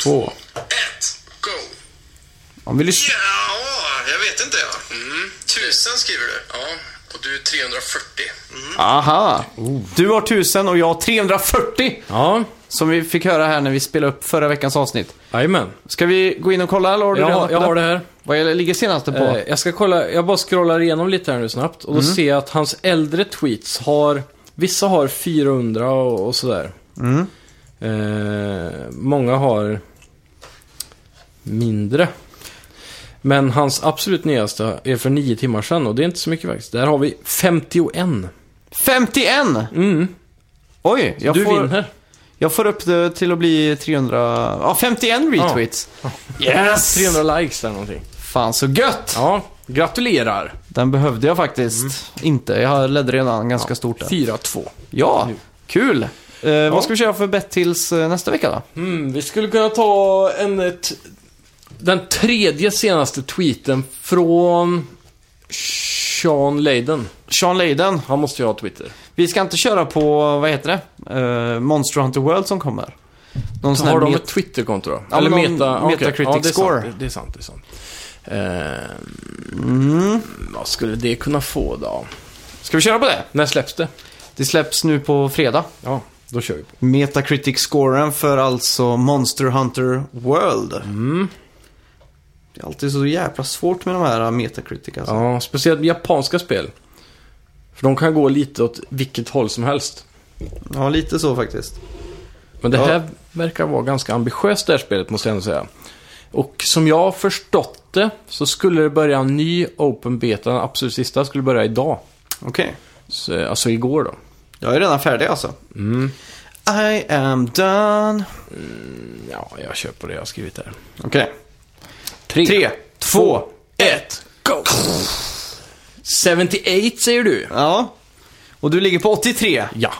[SPEAKER 2] Två.
[SPEAKER 3] ett, go!
[SPEAKER 1] Om vi lyssnar...
[SPEAKER 3] Ja, jag vet inte jag. Tusen skriver du. Ja, och du är 340.
[SPEAKER 1] Aha!
[SPEAKER 2] Oh.
[SPEAKER 1] Du har 1000 och jag har 340!
[SPEAKER 2] Ja,
[SPEAKER 1] Som vi fick höra här när vi spelade upp förra veckans avsnitt.
[SPEAKER 2] jajamän.
[SPEAKER 1] Ska vi gå in och kolla eller har du
[SPEAKER 2] Jag,
[SPEAKER 1] redan
[SPEAKER 2] har-
[SPEAKER 1] uppe
[SPEAKER 2] jag har det här.
[SPEAKER 1] Vad gäller- ligger senaste på?
[SPEAKER 2] Eh, jag ska kolla, jag bara scrollar igenom lite här nu snabbt och då
[SPEAKER 1] Mm.
[SPEAKER 2] ser jag att hans äldre tweets har, vissa har 400 och, och sådär.
[SPEAKER 1] Mm.
[SPEAKER 2] Eh, många har mindre. Men hans absolut nyaste är för nio timmar sedan och det är inte så mycket faktiskt. Där har vi 51.
[SPEAKER 1] 51!
[SPEAKER 2] Mm,
[SPEAKER 1] Oj, jag
[SPEAKER 2] du
[SPEAKER 1] får...
[SPEAKER 2] vinner.
[SPEAKER 1] Jag får upp det till att bli 300... Ja, 51 retweets! Yes!
[SPEAKER 2] 300 likes eller någonting.
[SPEAKER 1] Fan så gött!
[SPEAKER 2] Ja, gratulerar.
[SPEAKER 1] Den behövde jag faktiskt
[SPEAKER 2] Mm.
[SPEAKER 1] inte. Jag ledde redan ganska stort där.
[SPEAKER 2] 4-2.
[SPEAKER 1] Ja, kul! Eh, Vad ska vi köra för bett tills eh, nästa vecka då?
[SPEAKER 2] Mm, vi skulle kunna ta en... eh, T- den tredje senaste tweeten från Sean Leiden.
[SPEAKER 1] Sean Leiden.
[SPEAKER 2] Han måste ju ha Twitter.
[SPEAKER 1] Vi ska inte köra på, vad heter det? Eh, Monster Hunter World som kommer. Någon sån
[SPEAKER 2] har
[SPEAKER 1] här
[SPEAKER 2] de
[SPEAKER 1] met-
[SPEAKER 2] ett Twitterkonto då?
[SPEAKER 1] Ja,
[SPEAKER 2] Eller
[SPEAKER 1] men någon
[SPEAKER 2] meta... ah, okej.
[SPEAKER 1] Metacritic
[SPEAKER 2] ja, det är
[SPEAKER 1] score.
[SPEAKER 2] Sant, det, det är sant, det är sant. Eh, vad skulle det kunna få då?
[SPEAKER 1] Ska vi köra på det?
[SPEAKER 2] När släpps det?
[SPEAKER 1] Det släpps nu på fredag.
[SPEAKER 2] Ja, då kör vi på.
[SPEAKER 1] Metacritic-scoren för alltså Monster Hunter World. Det är alltid så jävla svårt med de här Metacritic alltså.
[SPEAKER 2] Ja, speciellt japanska spel. För de kan gå lite åt vilket håll som helst.
[SPEAKER 1] Ja, lite så faktiskt.
[SPEAKER 2] Men det
[SPEAKER 1] Ja.
[SPEAKER 2] här verkar vara ganska ambitiöst det här spelet måste jag ändå säga. Och som jag har förstått det så skulle det börja en ny Open Beta, den absolut sista skulle börja idag.
[SPEAKER 1] Okej.
[SPEAKER 2] Så, alltså igår då.
[SPEAKER 1] Mm. Jag är redan färdig alltså. I am done.
[SPEAKER 2] Ja, jag köper det jag har skrivit där.
[SPEAKER 1] Okej. Tre, två, ett.
[SPEAKER 2] go! 78 säger du?
[SPEAKER 1] Ja. Och du ligger på 83.
[SPEAKER 2] Ja.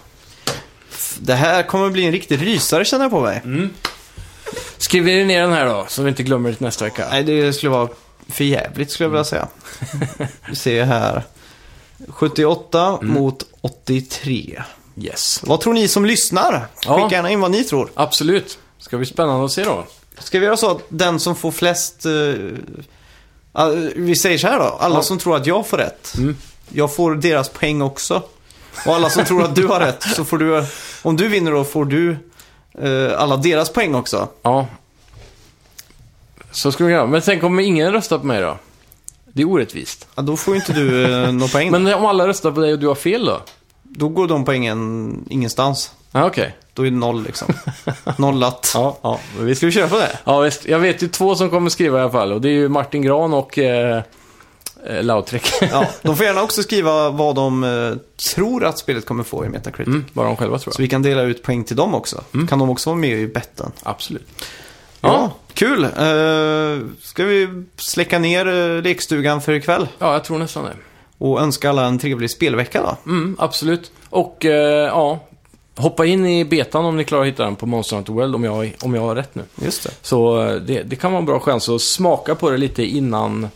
[SPEAKER 1] Det här kommer bli en riktig rysare känner jag på mig.
[SPEAKER 2] Skriver ni ner den här då, så vi inte glömmer det till nästa vecka?
[SPEAKER 1] Nej, det skulle vara för jävligt skulle jag vilja säga. Vi ser här. 78 mot 83.
[SPEAKER 2] Yes.
[SPEAKER 1] Vad tror ni som lyssnar?
[SPEAKER 2] Ja.
[SPEAKER 1] Skicka gärna in vad ni tror.
[SPEAKER 2] Absolut. Ska bli spännande att se då.
[SPEAKER 1] Ska vi göra så att den som får flest... eh, ah, vi säger så här då. Alla
[SPEAKER 2] Ja. Mm.
[SPEAKER 1] som tror att jag får rätt. Jag får deras poäng också. Och alla som tror att du har rätt så får du... Om du vinner då får du eh, alla deras poäng också.
[SPEAKER 2] Ja. Så skulle vi göra. Men tänk om ingen röstar på mig då? Det är orättvist.
[SPEAKER 1] Ja, då får ju inte du uh, några poäng.
[SPEAKER 2] Men om alla röstar på dig och du har fel då?
[SPEAKER 1] Då går de poängen ingenstans.
[SPEAKER 2] Ja, okej.
[SPEAKER 1] Då är det noll liksom. Nollat.
[SPEAKER 2] Ja, ja. men Vi
[SPEAKER 1] Ska vi köra på det?
[SPEAKER 2] Ja, visst. Jag vet ju två som kommer skriva i alla fall. Och det är ju Martin Gran och eh, eh, Lautrec.
[SPEAKER 1] Ja, de får gärna också skriva vad de eh, tror att spelet kommer få i Metacritic.
[SPEAKER 2] Mm, bara de själva tror
[SPEAKER 1] Så
[SPEAKER 2] jag.
[SPEAKER 1] vi kan dela ut poäng till dem också. Kan de också vara med i betten?
[SPEAKER 2] Absolut.
[SPEAKER 1] Ja,
[SPEAKER 2] Mm. Ja.
[SPEAKER 1] kul. Uh, ska vi släcka ner eh, lekstugan för ikväll
[SPEAKER 2] Ja, jag tror nästan det.
[SPEAKER 1] och önska alla en trevlig spelvecka då?
[SPEAKER 2] Mm, absolut. Och eh, ja, hoppa in i betan om ni klarar att hitta den på Monster Hunter World om jag, om jag har rätt nu.
[SPEAKER 1] Just det.
[SPEAKER 2] Så eh, det, det kan vara en bra chans att smaka på det lite innan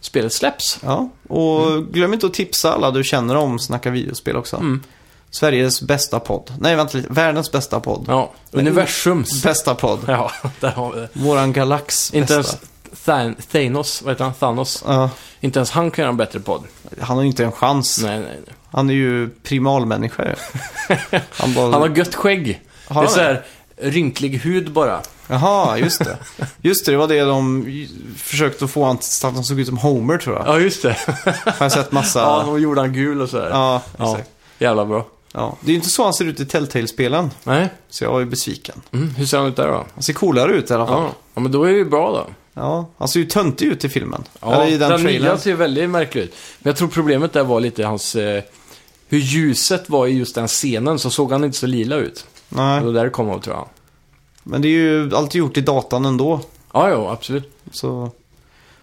[SPEAKER 2] spelet släpps.
[SPEAKER 1] Ja, och
[SPEAKER 2] Mm.
[SPEAKER 1] glöm inte att tipsa alla du känner om Snacka videospel också. Sveriges bästa podd. Nej, vänta lite. Världens bästa podd.
[SPEAKER 2] Ja, universums.
[SPEAKER 1] Bästa podd.
[SPEAKER 2] Ja, där har vi det.
[SPEAKER 1] Våran galax
[SPEAKER 2] Inte
[SPEAKER 1] bästa.
[SPEAKER 2] ens Than- Thanos, vad heter han? Thanos.
[SPEAKER 1] Ja,
[SPEAKER 2] Inte ens han kan göra en bättre podd.
[SPEAKER 1] han har ju inte en chans.
[SPEAKER 2] Nej, nej, nej.
[SPEAKER 1] Han är ju primalmänniska ju. Han bara...
[SPEAKER 2] Han har gött skägg.
[SPEAKER 1] Har
[SPEAKER 2] det är
[SPEAKER 1] han
[SPEAKER 2] så här rynklig hud bara.
[SPEAKER 1] Jaha, just det. Just det, det var det de ju- försökte få han till att han såg ut som Homer tror jag.
[SPEAKER 2] Ja, just det.
[SPEAKER 1] Har jag sett massa...
[SPEAKER 2] Ja, de gjorde han gul och så här.
[SPEAKER 1] Ja,
[SPEAKER 2] Ja,
[SPEAKER 1] exakt.
[SPEAKER 2] jävla bra.
[SPEAKER 1] Ja. Det är ju inte så han ser ut i Telltale-spelen.
[SPEAKER 2] Nej,
[SPEAKER 1] Så jag är besviken.
[SPEAKER 2] mm, hur ser han ut där då?
[SPEAKER 1] Han ser coolare ut i alla fall.
[SPEAKER 2] Ja, ja men då är det ju bra då.
[SPEAKER 1] Ja. Han ser ju töntig ut i filmen.
[SPEAKER 2] Ja,
[SPEAKER 1] Eller i den, trailern.
[SPEAKER 2] nya ser väldigt märklig ut. Men jag tror problemet där var lite hans... Eh, hur ljuset var i just den scenen så såg han inte så lila ut. Det
[SPEAKER 1] Nej.
[SPEAKER 2] var där det kom av tror jag.
[SPEAKER 1] Men det är ju alltid gjort i datan ändå.
[SPEAKER 2] Ja, jo, absolut.
[SPEAKER 1] Så...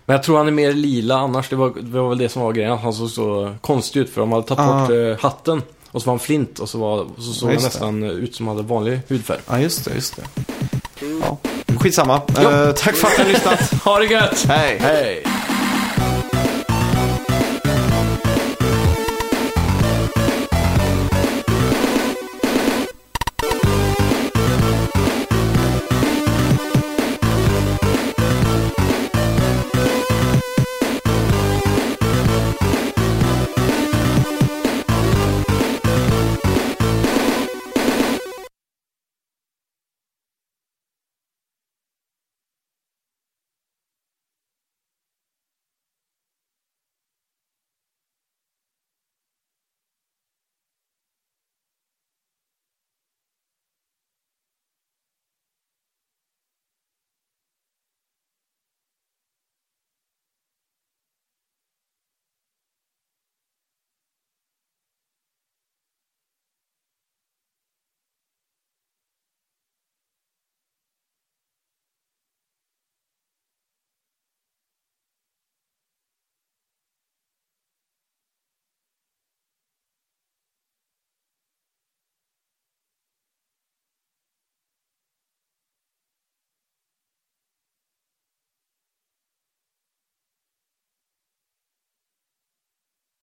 [SPEAKER 2] Men jag tror han är mer lila annars. Det var, det var väl det som var grejen. att Han såg så konstig ut för de hade tagit
[SPEAKER 1] Ah.
[SPEAKER 2] bort eh, hatten. Och så var han flint och så, var, så såg
[SPEAKER 1] Ja,
[SPEAKER 2] han
[SPEAKER 1] just det.
[SPEAKER 2] nästan eh, ut som han hade vanlig hudfärg.
[SPEAKER 1] Ja, just det, just det. Ja. Skitsamma. Eh, tack för att ni har lyssnat.
[SPEAKER 2] Ha det gött!
[SPEAKER 1] Hej.
[SPEAKER 2] Hej!